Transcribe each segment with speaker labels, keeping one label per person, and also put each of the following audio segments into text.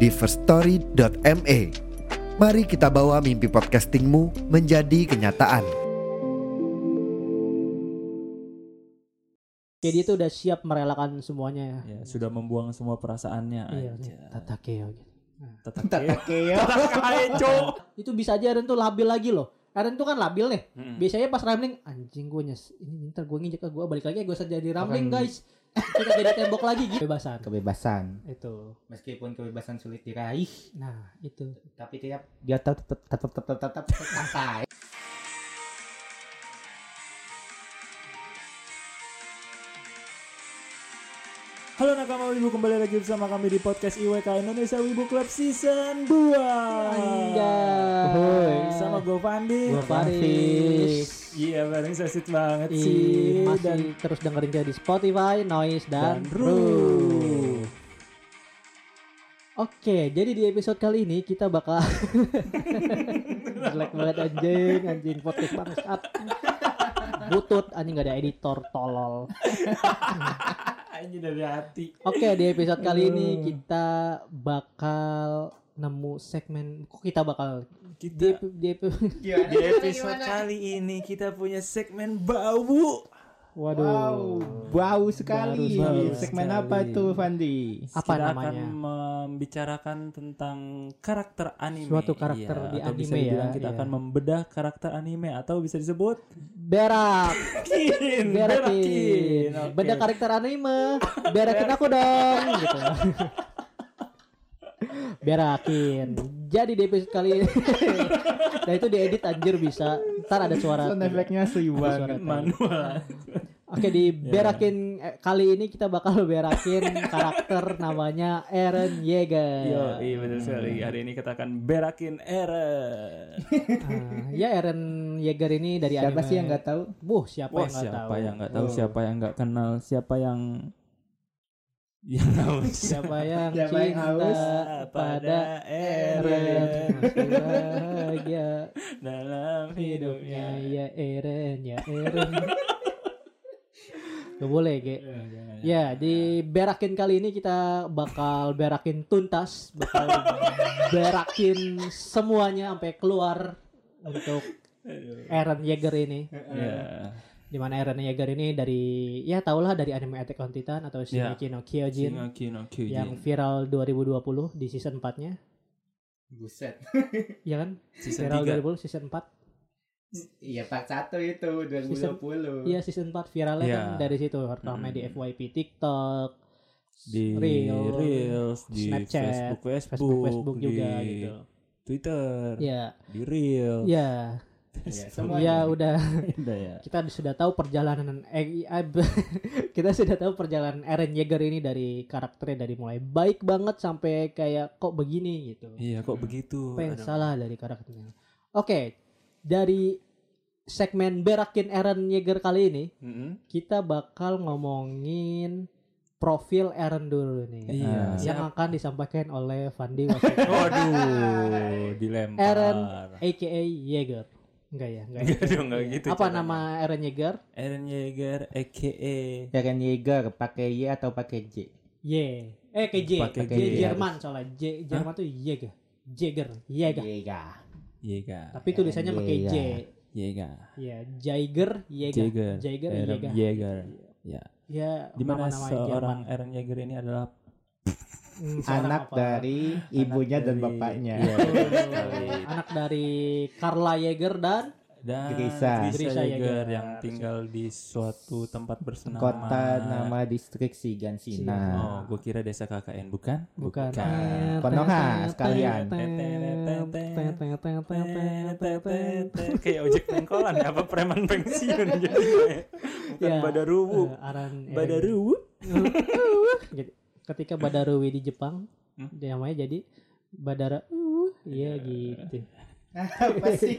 Speaker 1: di firststory.me. Mari kita bawa mimpi podcastingmu menjadi kenyataan.
Speaker 2: Jadi itu udah siap merelakan semuanya ya.
Speaker 3: Ya, sudah membuang semua perasaannya.
Speaker 2: Iya,
Speaker 3: aja.
Speaker 2: Tatakeo gitu.
Speaker 3: Tetap Hmm.
Speaker 2: Tatakeo. itu bisa aja Aaron tuh labil lagi loh. Aaron tuh kan labil nih.
Speaker 3: Hmm.
Speaker 2: Biasanya pas rambling anjing gue nyes. Ini ntar gue nginjek gue balik lagi gue jadi rambling guys. Kita jadi tembok lagi gitu. Kebebasan.
Speaker 4: kebebasan
Speaker 2: Itu.
Speaker 4: meskipun kebebasan sulit diraih
Speaker 2: Nah, itu.
Speaker 4: tapi tiap dia tetap tetap tetap tetap tetap santai
Speaker 3: Halo nakama Wibu kembali lagi bersama kami di podcast IWK Indonesia Wibu Club Season 2.
Speaker 2: Anjay.
Speaker 3: Sama gue Fandi.
Speaker 2: Gue Faris.
Speaker 3: Iya, bareng sesit banget
Speaker 2: Ih,
Speaker 3: sih
Speaker 2: masih
Speaker 3: dan
Speaker 2: Iya, terus dengerin kita di Spotify, Noise dan,
Speaker 3: Dan
Speaker 2: Ru.
Speaker 3: Ru.
Speaker 2: Oke, jadi di episode kali ini kita bakal jelek banget anjing, anjing podcast bangsat. Butut anjing gak ada editor tolol.
Speaker 3: anjing ah, dari hati.
Speaker 2: Oke, di episode kali ini kita bakal nemu segmen kok kita bakal di,
Speaker 3: Kita
Speaker 2: di, di-
Speaker 3: di episode kali ini kita punya segmen bau.
Speaker 2: waduh.
Speaker 4: wow bau sekali
Speaker 2: Baru sekali.
Speaker 4: segmen apa tuh Fandi
Speaker 2: Apa
Speaker 3: kita
Speaker 2: namanya?
Speaker 3: akan membicarakan tentang karakter anime.
Speaker 2: Suatu karakter
Speaker 3: Iya,
Speaker 2: di
Speaker 3: atau bisa
Speaker 2: anime ya,
Speaker 3: dibilang Kita
Speaker 2: iya.
Speaker 3: akan membedah karakter anime atau bisa disebut
Speaker 2: Berak.
Speaker 3: berakin.
Speaker 2: berakin
Speaker 3: Oke.
Speaker 2: beda karakter anime berakin aku dong gitu berakin jadi di episode kali ini nah itu diedit anjir bisa ntar ada suara
Speaker 4: sound effect-nya seru
Speaker 2: Ada suara
Speaker 4: banget
Speaker 2: tadi. Eh.
Speaker 3: manual.
Speaker 2: oke di berakin eh, kali ini kita bakal berakin karakter namanya Eren Yeager
Speaker 3: Yo, iya betul
Speaker 2: Hmm.
Speaker 3: sekali. Hari ini kita akan berakin Eren.
Speaker 2: Ah, ya Eren Yeager ini dari
Speaker 4: siapa
Speaker 2: anime
Speaker 4: sih yang nggak tahu
Speaker 2: Wah, siapa
Speaker 3: Wah,
Speaker 2: yang nggak
Speaker 3: siapa
Speaker 2: tahu
Speaker 3: yang nggak tahu,
Speaker 4: Oh.
Speaker 3: siapa yang nggak kenal, siapa yang yang haus
Speaker 2: siapa yang
Speaker 4: Siapa yang
Speaker 2: cinta
Speaker 4: haus
Speaker 2: pada Eren Iya, bahagia
Speaker 3: dalam
Speaker 2: hidupnya ya
Speaker 3: iya.
Speaker 2: Eren ya Eren Gak boleh Ge Ya di berakin kali ini kita bakal berakin tuntas Bakal berakin semuanya sampai keluar Untuk Eren Yeager ini
Speaker 3: Ya.
Speaker 2: Dimana Eren Yeager ini dari Ya tahulah dari anime Attack on Titan Atau Shingeki no Kyojin
Speaker 3: Ya. Shingeki no Kyojin.
Speaker 2: Yang viral 2020 di season 4 nya
Speaker 4: buset
Speaker 2: Iya kan?
Speaker 3: Season
Speaker 2: Viral
Speaker 3: tiga.
Speaker 2: 2020 season 4
Speaker 4: iya part satu itu 2020
Speaker 2: Iya season 4 viralnya
Speaker 3: Iya.
Speaker 2: kan dari situ pertama di
Speaker 3: Mm.
Speaker 2: FYP TikTok
Speaker 3: di
Speaker 2: Reel,
Speaker 3: Reels, di
Speaker 2: Snapchat,
Speaker 3: Facebook, Facebook,
Speaker 2: Facebook Facebook
Speaker 3: di
Speaker 2: juga gitu
Speaker 3: Twitter,
Speaker 2: ya
Speaker 3: di Reel.
Speaker 2: ya
Speaker 4: Iya,
Speaker 3: Semuanya.
Speaker 2: ya udah
Speaker 3: Udah ya.
Speaker 2: kita sudah tahu perjalanan eh, eh, kita sudah tahu perjalanan Eren Yeager ini dari karakternya dari mulai baik banget sampai kayak kok begini gitu
Speaker 3: Iya, kok begitu?
Speaker 2: apa yang
Speaker 3: Aduh.
Speaker 2: salah dari karakternya oke dari segmen berakin Eren Yeager kali ini
Speaker 3: Mm-mm.
Speaker 2: kita bakal ngomongin profil Eren dulu nih
Speaker 3: Iya.
Speaker 2: yang akan disampaikan oleh Fandi Wasekjen,
Speaker 3: Waduh, dilempar.
Speaker 2: Aaron aka Yeager. Enggak ya, enggak.
Speaker 3: Enggak dong, enggak gitu
Speaker 2: Apa
Speaker 3: caranya.
Speaker 2: nama Aaron Yeager?
Speaker 3: Aaron Yeager aka
Speaker 4: Eren Yeager pakai Y atau pakai J
Speaker 2: Y. Eh ke J.
Speaker 3: Pakai
Speaker 2: J
Speaker 3: J.
Speaker 2: Jerman soalnya. J Jerman tuh Yeager. Jaeger, Yeager.
Speaker 3: Iya,
Speaker 4: Yeager
Speaker 3: Yeager.
Speaker 2: Tapi tulisannya pakai J.
Speaker 3: Yeager.
Speaker 2: Ya, Jaeger, Yeager.
Speaker 3: Jaeger.
Speaker 2: Jaeger,
Speaker 3: Aaron
Speaker 2: Yeager.
Speaker 3: Yeager. Ya.
Speaker 2: Ya,
Speaker 3: Dimana
Speaker 2: nama-nama
Speaker 3: seorang
Speaker 2: Jerman.
Speaker 3: Aaron Yeager ini adalah
Speaker 2: Hmm, seorang
Speaker 4: anak
Speaker 2: apa?
Speaker 4: dari ibunya
Speaker 3: anak
Speaker 4: dan
Speaker 3: dari-
Speaker 4: bapaknya
Speaker 3: Iya, betul sekali.
Speaker 2: anak dari Carla Yeager dan
Speaker 3: Dan
Speaker 4: Grisa.
Speaker 2: Grisa
Speaker 3: Grisa Yeager
Speaker 2: Yeager.
Speaker 3: yang tinggal di suatu tempat bersenama
Speaker 4: kota nama distrik Shigansina
Speaker 3: Oh, gue kira desa KKN bukan?
Speaker 2: bukan Eh,
Speaker 4: Konoha sekalian.
Speaker 3: Kayak ojek pengkolan ya, apa preman pensiun gitu ya. Bukan
Speaker 2: Ya,
Speaker 5: Uh,
Speaker 3: Badaruwu.
Speaker 2: Eh, Aran Eren.
Speaker 3: Badaruwu.
Speaker 2: Jadi, ketika Badaruwi di Jepang
Speaker 3: Hmm?
Speaker 2: dia namanya jadi Badara. Uh, iya gitu.
Speaker 4: Apa sih?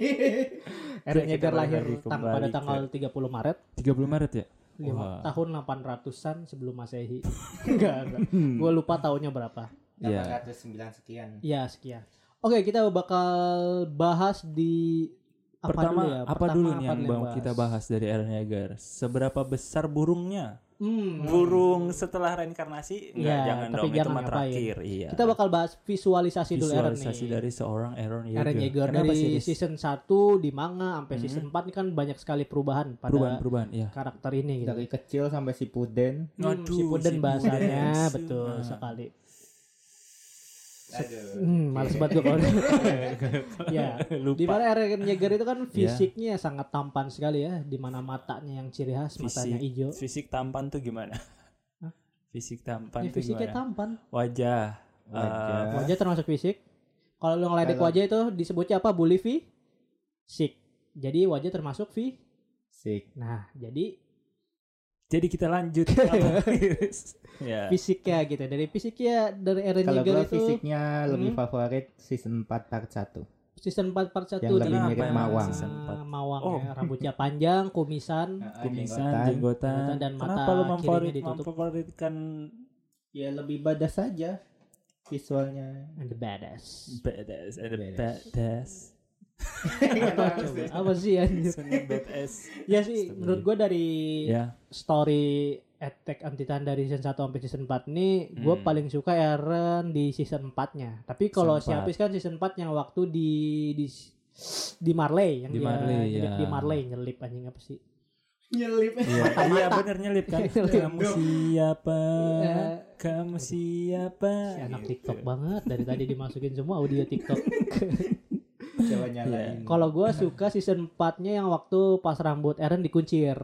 Speaker 2: Erwin
Speaker 3: kita
Speaker 2: Yeager lahir
Speaker 3: kembali
Speaker 2: tang- pada
Speaker 3: ke-
Speaker 2: tanggal 30 Maret
Speaker 5: 30 Maret ya?
Speaker 2: lima-
Speaker 5: Wah.
Speaker 2: tahun 800-an sebelum Masehi. enggak, enggak. Gua lupa tahunnya berapa.
Speaker 5: Iya.
Speaker 4: 809 sekian.
Speaker 2: Ya, sekian. Oke, kita bakal bahas di apa
Speaker 5: pertama,
Speaker 2: dulu ya?
Speaker 5: apa
Speaker 2: Pertama
Speaker 5: dulu nih
Speaker 2: apa
Speaker 5: yang
Speaker 2: dulu
Speaker 5: bang kita bahas dari Aaron Yeager? Seberapa besar burungnya?
Speaker 2: Hmm.
Speaker 3: Burung setelah reinkarnasi? Enggak,
Speaker 2: Iya,
Speaker 3: jangan
Speaker 2: tapi
Speaker 3: dong. itu
Speaker 2: jangan
Speaker 3: mah
Speaker 2: ngapain.
Speaker 3: terakhir. Iya.
Speaker 2: Kita bakal bahas visualisasi, dulu Aaron nih.
Speaker 5: Visualisasi dari seorang Aaron Yeager.
Speaker 2: Aaron Yeager
Speaker 5: Kenapa
Speaker 2: dari
Speaker 5: sih, Riz?
Speaker 2: season 1 di manga sampai
Speaker 5: Hmm.
Speaker 2: season 4 ini kan banyak sekali perubahan pada
Speaker 5: perubahan-perubahan ya.
Speaker 2: karakter ini gitu.
Speaker 4: Dari kecil sampai si Puden.
Speaker 2: Hmm, si Puden bahasanya betul
Speaker 3: Nah.
Speaker 2: sekali.
Speaker 4: Aduh.
Speaker 2: Hmm, males banget gue kalau Ya,
Speaker 3: Lupa.
Speaker 2: di mana Eren Yeager itu kan fisiknya sangat tampan sekali ya, di mana matanya yang ciri khas, matanya
Speaker 3: Fisik.
Speaker 2: hijau.
Speaker 3: Fisik tampan tuh gimana? Fisik tampan
Speaker 2: Ya,
Speaker 3: tuh
Speaker 2: fisiknya
Speaker 3: gimana?
Speaker 2: tampan.
Speaker 3: Wajah.
Speaker 4: Wajah.
Speaker 3: Eh,
Speaker 2: Wajah termasuk fisik. Kalau lu ngeledek
Speaker 4: Kalau-
Speaker 2: wajah itu disebutnya apa? Bully Fisik. Jadi wajah termasuk fi.
Speaker 4: Sik.
Speaker 2: Nah, jadi
Speaker 3: jadi kita lanjut. Apa, Riz? ya.
Speaker 2: fisiknya gitu. Dari fisiknya dari Eren
Speaker 4: Kalau
Speaker 2: Yeager
Speaker 4: gua
Speaker 2: itu
Speaker 4: fisiknya lebih
Speaker 2: Hmm.
Speaker 4: favorit season 4 part 1.
Speaker 2: season 4 part 1
Speaker 4: Yang lebih
Speaker 3: Kenapa
Speaker 4: mirip
Speaker 3: emang
Speaker 4: Mawang.
Speaker 3: season empat?
Speaker 2: Mawang
Speaker 3: Oh. Iya.
Speaker 2: ya, rambutnya panjang, kumisan.
Speaker 4: Ah,
Speaker 3: Kumisan,
Speaker 4: jenggotan.
Speaker 2: jenggotan,
Speaker 3: jenggotan.
Speaker 2: dan
Speaker 3: Kenapa
Speaker 2: mata
Speaker 3: lu
Speaker 2: kirinya
Speaker 3: memfavorit,
Speaker 2: ditutup.
Speaker 3: memfavoritkan
Speaker 4: Ya lebih badas saja visualnya.
Speaker 2: And the badass.
Speaker 3: badass? Ada
Speaker 4: Badass.
Speaker 3: badass.
Speaker 4: Iya,
Speaker 3: Iya
Speaker 2: Coba, apa sih anjir?
Speaker 3: Seni badass.
Speaker 2: ya sih menurut gue dari
Speaker 4: Iya.
Speaker 2: Iya.
Speaker 3: Ya.
Speaker 2: story Attack on Titan dari season 1 sampai season 4 nih gue
Speaker 3: Hmm.
Speaker 2: paling suka Eren di season 4 nya tapi kalau si
Speaker 3: Season
Speaker 2: Hafiz kan season 4 yang waktu di di di Marley yang
Speaker 5: Di
Speaker 2: dia
Speaker 5: Marley,
Speaker 2: nyelip
Speaker 4: iya.
Speaker 5: ya.
Speaker 2: di Marley nyelip anjing apa sih
Speaker 4: Nyelip.
Speaker 3: Iya, iya bener nyelip kan.
Speaker 2: Nyelip.
Speaker 3: Kamu siapa?
Speaker 4: Eh,
Speaker 2: Iya.
Speaker 3: Kamu siapa?
Speaker 5: Iya,
Speaker 2: si anak
Speaker 3: Gitu.
Speaker 2: TikTok banget dari tadi dimasukin semua audio TikTok
Speaker 5: Hmm.
Speaker 4: Coba nyalain.
Speaker 2: Iya. kalau gue suka season 4 nya yang waktu pas rambut Eren dikuncir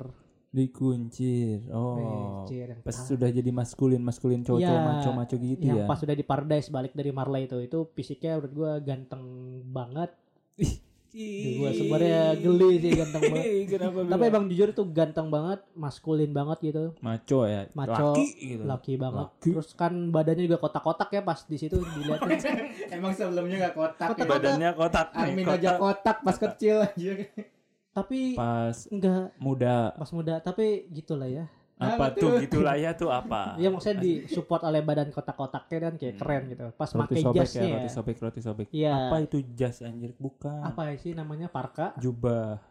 Speaker 5: Dikuncir. Oh.
Speaker 2: Dikuncir, yang
Speaker 5: Pas
Speaker 2: tas.
Speaker 5: sudah jadi maskulin, maskulin cowok,
Speaker 2: Iya.
Speaker 5: maco-maco gitu
Speaker 2: yang
Speaker 5: ya.
Speaker 2: pas sudah di Paradise balik dari Marley itu itu fisiknya menurut gue ganteng banget gue sebenarnya geli sih ganteng banget
Speaker 3: Ih, Kenapa
Speaker 2: tapi
Speaker 3: bilang?
Speaker 2: emang jujur tuh ganteng banget maskulin banget gitu
Speaker 5: Maco ya.
Speaker 2: maco
Speaker 3: Laki gitu.
Speaker 2: laki banget
Speaker 5: Laki.
Speaker 2: terus kan badannya juga kotak-kotak ya pas di situ dilihat
Speaker 4: Emang sebelumnya gak kotak.
Speaker 2: Kotak.
Speaker 4: ya?
Speaker 3: Badannya kotak. nih,
Speaker 4: Armin aja kotak pas kecil anjir.
Speaker 2: tapi
Speaker 5: Pas
Speaker 2: enggak
Speaker 5: muda
Speaker 2: pas muda tapi gitulah ya
Speaker 3: Apa tuh gitulah ya tuh apa?
Speaker 2: ya maksudnya di support oleh badan kotak-kotaknya dan kayak
Speaker 3: Hmm.
Speaker 2: keren gitu pas
Speaker 5: roti
Speaker 2: pakai
Speaker 5: sobek ya,
Speaker 2: jasnya
Speaker 5: roti
Speaker 2: ya
Speaker 5: sobek, roti sobek.
Speaker 2: Iya.
Speaker 3: ya?
Speaker 5: Apa itu jas anjir? Bukan.
Speaker 2: apa ya sih namanya parka
Speaker 5: Jubah.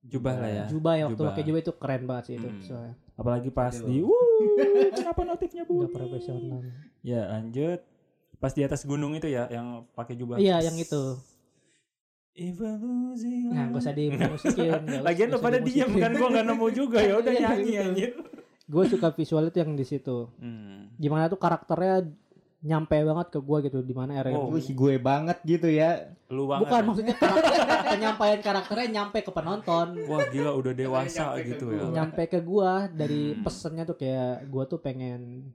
Speaker 5: Jubah lah ya.
Speaker 2: jubah ya waktu
Speaker 5: Jubah.
Speaker 2: pakai jubah itu keren banget sih itu
Speaker 3: Hmm.
Speaker 2: soalnya
Speaker 5: Apalagi pas
Speaker 4: Aduh.
Speaker 5: di Wuh, kenapa notifnya bunyi?
Speaker 2: nggak profesional
Speaker 5: Ya,
Speaker 3: Lanjut. Pas di atas gunung itu ya yang pakai jubah.
Speaker 2: iya yang itu
Speaker 3: Evolusi.
Speaker 2: Nah, gak usah dimusikin.
Speaker 3: Lagian lu pada diem kan gua nggak nemu juga ya udah
Speaker 2: Iya,
Speaker 3: nyanyi
Speaker 2: gitu.
Speaker 3: anjir.
Speaker 2: Gue suka visual itu yang di situ.
Speaker 3: Hmm.
Speaker 2: Gimana tuh karakternya nyampe banget ke gue gitu. Dimana Eren.
Speaker 3: Oh,
Speaker 4: Wih gue banget gitu ya.
Speaker 3: Lu banget.
Speaker 2: Bukan
Speaker 3: ya.
Speaker 2: maksudnya karakter- penyampaian karakternya nyampe ke penonton.
Speaker 3: Wah gila udah dewasa
Speaker 4: Nyampe ke
Speaker 3: gitu
Speaker 4: gua.
Speaker 3: ya.
Speaker 2: Nyampe ke gua dari
Speaker 3: Hmm.
Speaker 2: pesennya tuh kayak gua tuh pengen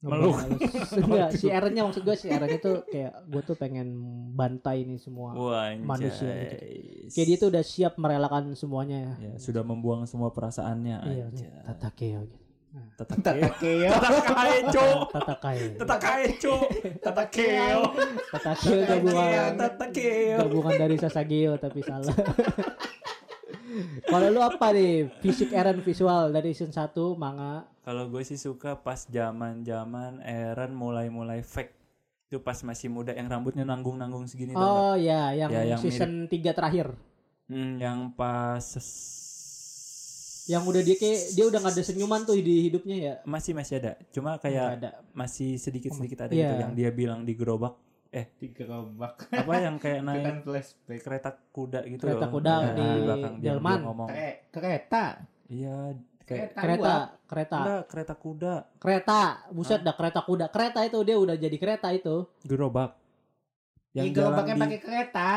Speaker 3: Meluk.
Speaker 2: Ngebalus. Enggak, si Erennya maksud gue si Erennya tuh kayak gua tuh pengen bantai ini semua.
Speaker 3: Wah,
Speaker 2: Manusia gitu.
Speaker 3: anjay.
Speaker 2: Kayak dia tuh udah siap merelakan semuanya.
Speaker 5: ya sudah membuang semua perasaannya.
Speaker 2: Iya,
Speaker 5: anjir.
Speaker 2: tatakeo gitu.
Speaker 3: Tetake.
Speaker 4: Takeo.
Speaker 3: Tetakae, Cok.
Speaker 2: Tatakae.
Speaker 3: Tetakae, Cok. Tetakeo.
Speaker 2: Tatakae gabungan.
Speaker 3: Tetakeo.
Speaker 2: gabungan dari Sasageo tapi salah. Kalau lu apa nih fisik Eren visual dari season 1 manga
Speaker 3: Kalau gue sih suka pas zaman-zaman Eren mulai-mulai fake. Itu pas masih muda yang rambutnya nanggung-nanggung segini tau nggak?
Speaker 2: Oh ya yang,
Speaker 3: Ya, yang
Speaker 2: season 3 terakhir
Speaker 3: Hmm, yang pas
Speaker 2: yang udah dia kayak dia udah gak ada senyuman tuh di hidupnya ya.
Speaker 3: masih masih ada. Cuma
Speaker 2: Nggak
Speaker 3: kayak
Speaker 2: ada.
Speaker 3: masih sedikit-sedikit ada gitu
Speaker 2: Iya.
Speaker 3: yang dia bilang di gerobak
Speaker 4: Digerobak.
Speaker 3: apa yang kayak
Speaker 4: Itu
Speaker 3: naik
Speaker 4: kan flashback.
Speaker 3: kereta kuda gitu
Speaker 2: Kereta
Speaker 3: loh.
Speaker 2: kuda
Speaker 3: Nah,
Speaker 2: di
Speaker 3: dia-
Speaker 2: Delman.
Speaker 3: dia ngomong
Speaker 4: Kere- kereta.
Speaker 3: iya kayak
Speaker 4: Kereta.
Speaker 2: Kereta,
Speaker 4: uap.
Speaker 2: kereta,
Speaker 3: enggak kereta kuda
Speaker 2: kereta. Buset dah kereta kuda. Kereta itu dia udah jadi kereta itu.
Speaker 3: gerobak
Speaker 4: Yang
Speaker 3: yang jalan
Speaker 4: gerobaknya
Speaker 3: di
Speaker 4: pakai kereta.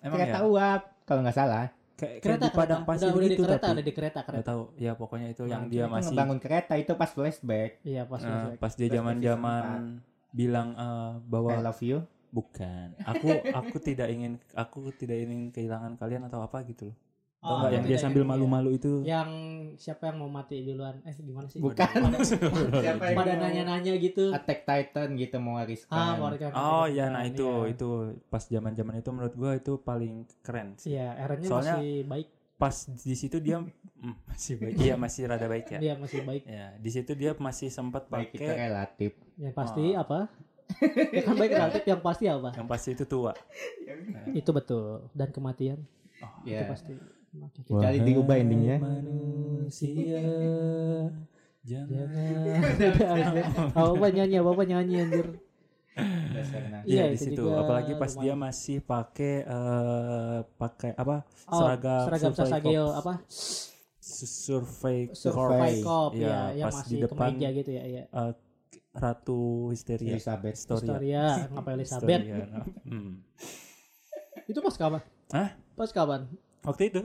Speaker 3: emang
Speaker 4: kereta
Speaker 3: ya
Speaker 4: uap. Kalau nggak salah.
Speaker 3: kayak, kayak
Speaker 2: Kereta
Speaker 3: di padang
Speaker 2: kereta.
Speaker 3: pasir
Speaker 2: udah, udah di
Speaker 3: gitu
Speaker 2: kereta,
Speaker 3: tapi
Speaker 2: udah di kereta,
Speaker 3: nggak
Speaker 2: kereta.
Speaker 3: tahu ya pokoknya itu yang
Speaker 4: Nah,
Speaker 3: dia
Speaker 4: itu
Speaker 3: masih
Speaker 4: ngebangun kereta itu pas flashback.
Speaker 2: Iya pas
Speaker 3: eh,
Speaker 2: masuk.
Speaker 3: pas dia
Speaker 4: Flashback
Speaker 3: zaman zaman
Speaker 4: season
Speaker 3: bilang eh,
Speaker 4: I
Speaker 3: bahwa
Speaker 4: love you.
Speaker 3: bukan aku aku tidak ingin aku tidak ingin kehilangan kalian atau apa gitu loh Tau
Speaker 2: Oh,
Speaker 3: nggak yang
Speaker 2: iya,
Speaker 3: dia
Speaker 2: iya,
Speaker 3: sambil
Speaker 2: iya.
Speaker 3: malu-malu itu?
Speaker 2: yang siapa yang mau mati duluan eh gimana sih
Speaker 4: Bukan. Siapa yang
Speaker 2: pada
Speaker 4: mau
Speaker 2: nanya-nanya gitu
Speaker 4: Attack Titan gitu mau wariskan.
Speaker 2: ah warga
Speaker 3: Oh iya, nah itu
Speaker 2: iya.
Speaker 3: itu pas zaman-zaman itu menurut gua itu paling keren sih.
Speaker 2: Iya, Aaronnya
Speaker 3: Soalnya-
Speaker 2: masih baik.
Speaker 3: Pas di situ dia mm, masih baik, iya masih rada baik ya.
Speaker 2: Dia masih baik.
Speaker 3: Ya, di situ dia masih sempat
Speaker 4: baik itu
Speaker 3: pakai
Speaker 4: relatif.
Speaker 2: Yang pasti
Speaker 3: Oh.
Speaker 2: apa? Ya kan baik relatif yang pasti apa?
Speaker 3: yang pasti itu tua.
Speaker 2: Itu betul. Dan kematian itu
Speaker 3: Iya.
Speaker 4: Ya.
Speaker 2: pasti. Oke, oke.
Speaker 4: Kecuali diubah endingnya.
Speaker 3: Manusia jangan
Speaker 2: Jangan. Iya. apa nyanyi, apa nyanyi anjir.
Speaker 4: Dasarnya.
Speaker 3: Iya
Speaker 2: Iya,
Speaker 3: di
Speaker 2: itu
Speaker 3: situ.
Speaker 2: juga
Speaker 3: Apalagi pas
Speaker 2: lumayan.
Speaker 3: dia masih pakai eh pakai apa
Speaker 2: Oh,
Speaker 3: seragam
Speaker 2: seragam
Speaker 3: survei
Speaker 2: Sasageo
Speaker 3: corps.
Speaker 2: apa?
Speaker 3: Su- survei
Speaker 2: Survei
Speaker 3: corps.
Speaker 2: Cop
Speaker 3: Iya,
Speaker 2: ya, yang
Speaker 3: pas
Speaker 2: masih
Speaker 3: di depan
Speaker 2: kemeja gitu ya, iya.
Speaker 3: eh, ratu histeria
Speaker 4: Elizabeth.
Speaker 3: Historia.
Speaker 2: Historia, ngapa Elizabeth?
Speaker 3: Historia, nah. Hmm.
Speaker 2: Itu pas kapan?
Speaker 3: Hah?
Speaker 2: Pas kapan?
Speaker 3: Waktu itu.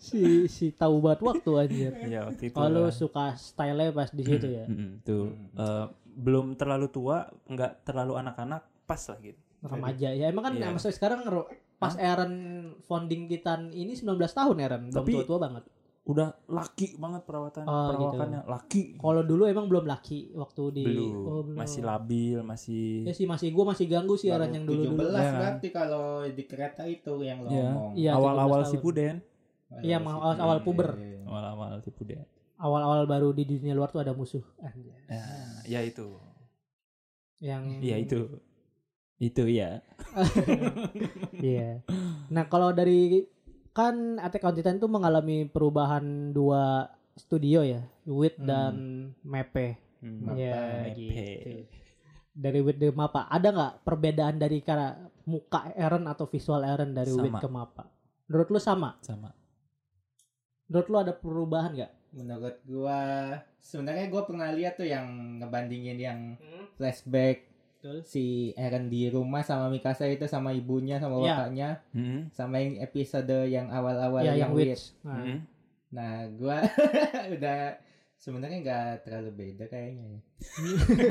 Speaker 2: Si si tahu buat waktu anjir.
Speaker 3: Iya, Hmm. waktu itu.
Speaker 2: Kalau
Speaker 3: lah.
Speaker 2: suka style-nya pas di situ ya.
Speaker 3: Mm-mm, tuh eh, belum terlalu tua, nggak terlalu anak-anak, pas lah gitu.
Speaker 2: remaja ya emang kan
Speaker 3: Iya.
Speaker 2: maksudnya sekarang ro- pas Aaron founding Titan ini 19 tahun Aaron belum
Speaker 3: Tapi-
Speaker 2: tua-tua banget
Speaker 3: Udah laki banget perawatannya,
Speaker 2: Oh, gitu.
Speaker 3: perawakannya laki.
Speaker 2: kalau dulu emang belum laki waktu di
Speaker 3: belum.
Speaker 2: oh, belum.
Speaker 3: masih
Speaker 2: ya
Speaker 3: labil, masih
Speaker 2: sih masih gua masih ganggu sih Aaron yang dulu dulu
Speaker 4: 17
Speaker 3: Iya, kan?
Speaker 4: berarti kalau di kereta itu yang lo
Speaker 3: Iya.
Speaker 4: ngomong.
Speaker 2: Iya.
Speaker 3: awal-awal
Speaker 2: 17
Speaker 3: si
Speaker 2: tahun.
Speaker 3: Puden,
Speaker 4: Kalau
Speaker 2: Iya,
Speaker 4: si-
Speaker 2: mau awal- awal puber.
Speaker 4: Iya.
Speaker 3: awal-awal si Puden.
Speaker 2: awal-awal baru di dunia luar tuh ada musuh Anjay.
Speaker 3: Ya, ya itu.
Speaker 2: yang
Speaker 3: Ya itu. Itu ya.
Speaker 2: Iya. Nah, kalau dari kan Attack on Titan itu mengalami perubahan dua studio ya, Wit
Speaker 4: Hmm.
Speaker 2: dan Mepe.
Speaker 3: Hmm.
Speaker 2: Ya,
Speaker 3: Mepe.
Speaker 2: gitu. Dari Wit ke Mapa, ada nggak perbedaan dari cara muka Eren atau visual Eren dari Wit
Speaker 3: Sama.
Speaker 2: ke Mapa? Menurut lu sama?
Speaker 3: Sama.
Speaker 2: Menurut lu ada perubahan nggak?
Speaker 4: Menurut gua sebenarnya gua pernah lihat tuh yang ngebandingin yang flashback
Speaker 2: Betul.
Speaker 4: si Eren di rumah sama Mikasa itu sama ibunya sama
Speaker 2: Iya.
Speaker 4: bapaknya
Speaker 3: Hmm.
Speaker 4: sama yang episode yang awal-awal
Speaker 2: Ya, yang
Speaker 4: yang weird.
Speaker 2: Wit. Nah,
Speaker 3: Hmm.
Speaker 4: Nah, gua udah sebenarnya nggak terlalu beda kayaknya. ya.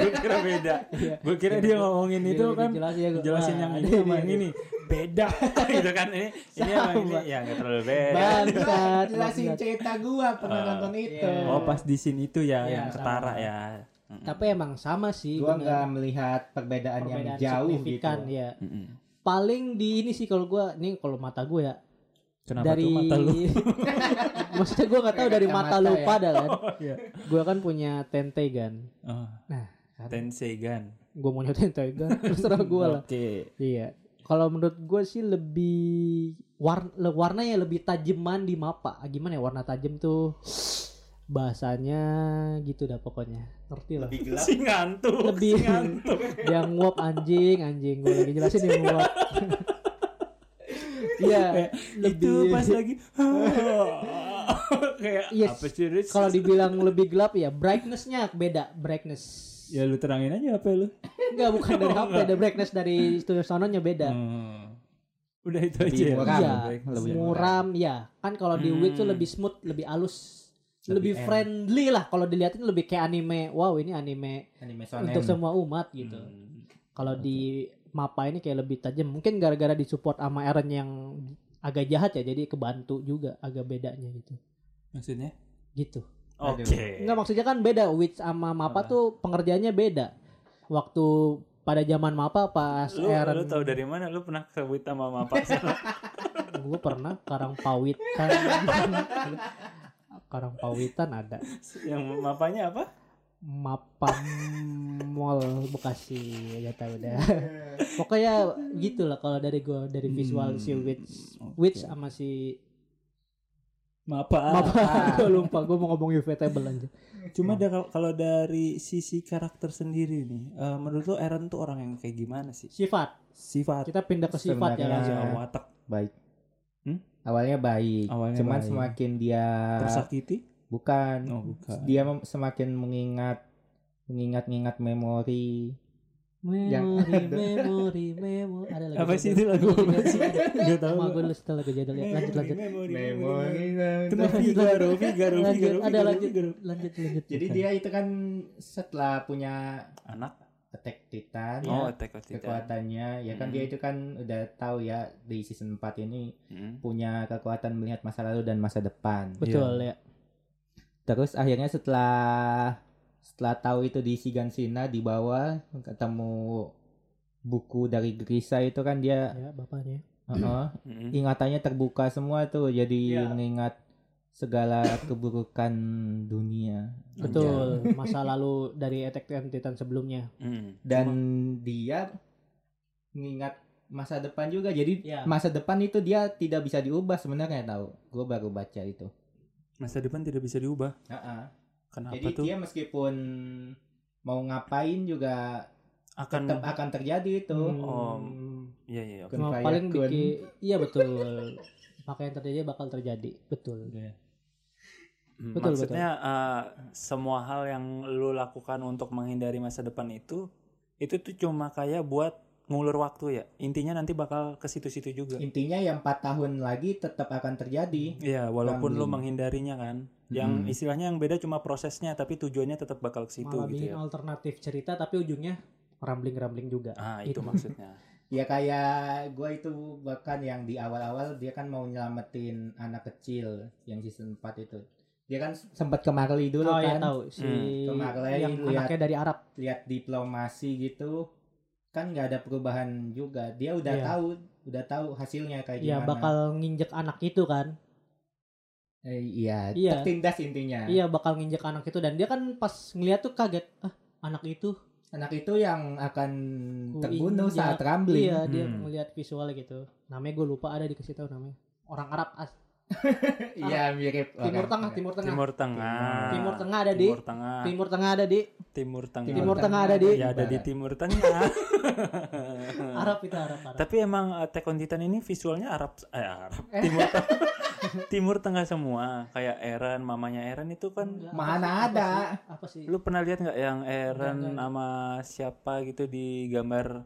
Speaker 3: gue kira beda
Speaker 2: Iya.
Speaker 3: gue kira dia ngomongin
Speaker 2: jadi
Speaker 3: itu
Speaker 2: lebih
Speaker 3: kan
Speaker 2: jelas ya gua. iya.
Speaker 3: jelasin
Speaker 2: Wah,
Speaker 3: yang
Speaker 2: ada
Speaker 3: ini sama yang ini beda gitu kan ini ini sama ini
Speaker 2: Sama.
Speaker 3: ya nggak terlalu beda
Speaker 2: Bangsat,
Speaker 4: Jelasin
Speaker 2: bangsat.
Speaker 4: cerita gua pernah
Speaker 3: Eh,
Speaker 4: nonton itu.
Speaker 2: iya.
Speaker 3: oh pas di scene itu ya
Speaker 2: Iya,
Speaker 3: yang
Speaker 2: sama.
Speaker 3: ketara ya Mm-mm.
Speaker 2: Tapi emang sama sih.
Speaker 4: Gua
Speaker 2: bener.
Speaker 4: nggak melihat perbedaan, yang jauh gitu.
Speaker 2: signifikan, ya.
Speaker 3: Mm-mm.
Speaker 2: paling di ini sih kalau gua nih kalau mata gue ya
Speaker 3: kenapa
Speaker 2: dari
Speaker 3: tuh mata lu
Speaker 2: maksudnya gue nggak tahu dari
Speaker 4: Kacamata
Speaker 2: mata lu
Speaker 4: ya.
Speaker 2: pada kan
Speaker 3: Iya.
Speaker 2: gue kan punya tente gun
Speaker 3: oh.
Speaker 2: Nah,
Speaker 3: Tensei Gun
Speaker 2: gue punya tente gun terserah gue lah
Speaker 3: oke
Speaker 2: iya kalau menurut gue sih lebih warna warnanya lebih tajaman di mapa gimana ya warna tajam tuh bahasanya gitu dah pokoknya ngerti lah
Speaker 4: Lebih gelap.
Speaker 3: si ngantuk
Speaker 2: Lebih.
Speaker 3: si ngantuk
Speaker 2: yang nguap anjing anjing gue lagi jelasin yang nguap iya
Speaker 3: itu pas lagi "Ah." kayak
Speaker 2: Yes.
Speaker 3: apa sih Riz?
Speaker 2: kalau dibilang lebih gelap ya brightnessnya beda brightness
Speaker 3: ya lu terangin aja apa lu
Speaker 2: enggak bukan dari HP ada brightness dari studio sononya beda
Speaker 3: Hmm. udah itu aja
Speaker 4: Lebih
Speaker 3: ya?
Speaker 4: murah.
Speaker 2: Iya,
Speaker 4: lebih
Speaker 2: muram ya kan kalau di
Speaker 3: Hmm.
Speaker 2: Wit tuh lebih smooth lebih halus lebih,
Speaker 4: Lebih enak.
Speaker 2: friendly lah kalau dilihatin lebih kayak anime wow ini anime
Speaker 4: Anime shonen.
Speaker 2: untuk semua umat gitu
Speaker 3: Hmm.
Speaker 2: kalau di mapa ini kayak lebih tajam mungkin gara-gara disupport sama Eren yang agak jahat ya jadi kebantu juga agak bedanya gitu
Speaker 3: maksudnya
Speaker 2: gitu
Speaker 3: oke
Speaker 4: Aduh.
Speaker 2: Enggak maksudnya kan beda Witch sama Mapa
Speaker 3: Apa?
Speaker 2: tuh pengerjaannya beda. Waktu pada zaman Mapa pas
Speaker 3: lu,
Speaker 2: Eren
Speaker 3: lu tahu dari mana lu pernah ke Wita Mama Pak
Speaker 2: gue pernah Karang Pawitan. Karang Pawitan ada.
Speaker 3: yang mapanya apa
Speaker 2: Mapa Mall Bekasi ya tahu dah. Pokoknya gitu lah kalau dari gua dari visual si
Speaker 3: Hmm,
Speaker 2: Witch Witch sama si
Speaker 3: mapa
Speaker 2: Mapa gue lupa gue mau ngomong Yuvetable aja.
Speaker 3: cuma da- kalau- kalau dari sisi karakter sendiri nih eh, menurut lu Eren tuh orang yang kayak gimana sih
Speaker 2: Sifat.
Speaker 3: sifat
Speaker 2: Kita pindah ke sifat ya
Speaker 4: Sebenarnya-
Speaker 2: langsung.
Speaker 3: ya, watak
Speaker 4: baik.
Speaker 3: Hmm?
Speaker 4: Awalnya baik.
Speaker 3: Awalnya
Speaker 4: Cuman
Speaker 3: baik.
Speaker 4: semakin dia
Speaker 3: tersakiti
Speaker 4: bukan
Speaker 3: oh bukan
Speaker 4: dia mem- semakin mengingat mengingat-ingat memori Yang
Speaker 2: Memori,
Speaker 4: ada.
Speaker 2: memori, memori. Ada lagi.
Speaker 3: apa sih itu lagu apa sih nggak tahu
Speaker 2: Sama gue lu setelah lagu jadul ya. Lanjut, lanjut.
Speaker 3: memori
Speaker 4: memori
Speaker 3: Itu Figaro, Figaro,
Speaker 2: Lanjut,
Speaker 3: Figaro,
Speaker 2: ada
Speaker 3: Figaro,
Speaker 2: lanjut,
Speaker 3: Figaro.
Speaker 2: lanjut, lanjut.
Speaker 4: jadi dia itu kan setelah punya
Speaker 3: anak
Speaker 4: Attack Titan.
Speaker 3: Oh, Attack on Titan.
Speaker 4: Kekuatannya ya kan
Speaker 3: Hmm.
Speaker 4: dia itu kan udah tahu ya di season 4 ini
Speaker 3: Hmm.
Speaker 4: punya kekuatan melihat masa lalu dan masa depan.
Speaker 2: Betul
Speaker 3: Iya.
Speaker 2: ya.
Speaker 4: Terus akhirnya setelah setelah tahu itu di Sigansina dibawa ketemu buku dari Grisa itu kan dia
Speaker 2: Ya, bapaknya.
Speaker 4: heeh,
Speaker 3: Hmm.
Speaker 4: ingatannya terbuka semua tuh jadi
Speaker 5: Iya.
Speaker 4: mengingat segala keburukan dunia
Speaker 3: hmm.
Speaker 2: Betul, masa lalu dari Attack on Titan sebelumnya.
Speaker 3: Hmm.
Speaker 4: dan dia mengingat masa depan juga jadi
Speaker 2: Iya.
Speaker 4: masa depan itu dia tidak bisa diubah sebenarnya tahu gue baru baca itu
Speaker 3: Masa depan tidak bisa diubah. Kenapa
Speaker 4: jadi
Speaker 3: tuh?
Speaker 4: dia meskipun mau ngapain juga
Speaker 3: Akan
Speaker 4: tetap akan terjadi itu
Speaker 3: Om. Iya, iya.
Speaker 2: Hmm.
Speaker 3: oke.
Speaker 2: Cuma
Speaker 4: Gunfire
Speaker 2: paling
Speaker 4: Gun.
Speaker 2: bikin iya betul. Maka yang terjadi bakal terjadi. Betul.
Speaker 3: Hmm,
Speaker 2: Betul,
Speaker 3: Maksudnya eh, semua hal yang lu lakukan untuk menghindari masa depan itu itu tuh cuma kayak buat ngulur waktu ya. Intinya nanti bakal ke situ-situ
Speaker 2: Iya.
Speaker 3: juga.
Speaker 4: intinya yang 4 tahun lagi tetap akan terjadi
Speaker 3: Iya, walaupun lu
Speaker 4: Tanggung.
Speaker 3: menghindarinya kan. Yang
Speaker 4: Hmm.
Speaker 3: istilahnya yang beda cuma prosesnya tapi tujuannya tetap bakal ke situ
Speaker 2: Malah
Speaker 3: gitu
Speaker 2: bikin
Speaker 3: ya.
Speaker 2: alternatif cerita tapi ujungnya rambling-rambling juga.
Speaker 3: Ah,
Speaker 2: Itu.
Speaker 3: itu maksudnya.
Speaker 4: ya kayak gue itu bahkan yang di awal-awal dia kan mau nyelamatin anak kecil yang season 4 itu dia kan sempat ke Marley dulu
Speaker 2: Oh ya
Speaker 4: kan
Speaker 2: tahu si
Speaker 3: Hmm.
Speaker 4: Kemarin
Speaker 2: yang
Speaker 4: lihat-
Speaker 2: anaknya dari Arab.
Speaker 4: lihat diplomasi gitu kan nggak ada perubahan juga dia udah
Speaker 2: Iya.
Speaker 4: tahu udah tahu hasilnya kayak
Speaker 2: Ya
Speaker 4: gimana
Speaker 2: bakal nginjek anak itu kan.
Speaker 4: Eh, iya,
Speaker 2: Iya.
Speaker 4: tertindas intinya
Speaker 2: Iya bakal nginjek anak itu dan dia kan pas ngeliat tuh kaget. Ah, anak itu.
Speaker 4: anak itu yang akan
Speaker 2: Ku
Speaker 4: terbunuh
Speaker 2: injak.
Speaker 4: saat rambling
Speaker 2: Iya, dia
Speaker 3: Hmm.
Speaker 2: ngeliat visual gitu. Namanya gue lupa ada dikasih tahu namanya. Orang Arab as-
Speaker 4: iya mirip
Speaker 2: Timur
Speaker 4: orang.
Speaker 2: Tengah, Timur Tengah.
Speaker 3: ya. Timur Tengah.
Speaker 2: Timur Tengah ada di
Speaker 3: Timur Tengah. Hmm.
Speaker 2: Timur Tengah ada di
Speaker 3: Timur Tengah.
Speaker 2: Timur Tengah Iya, ada di-
Speaker 3: Ya ada di
Speaker 4: barat.
Speaker 3: Timur Tengah.
Speaker 2: Arab itu Arab Arab.
Speaker 3: Tapi emang Attack on Titan ini visualnya Arab eh Arab. Timur Tengah. Timur Tengah semua. Kayak Eren, mamanya Eren itu kan
Speaker 2: Enggak, apa sih-
Speaker 4: Mana
Speaker 2: apa
Speaker 4: ada?
Speaker 2: sih- Apa sih?
Speaker 3: lu pernah lihat nggak yang
Speaker 2: Enggak,
Speaker 3: Eren
Speaker 2: enggak.
Speaker 3: sama siapa gitu di gambar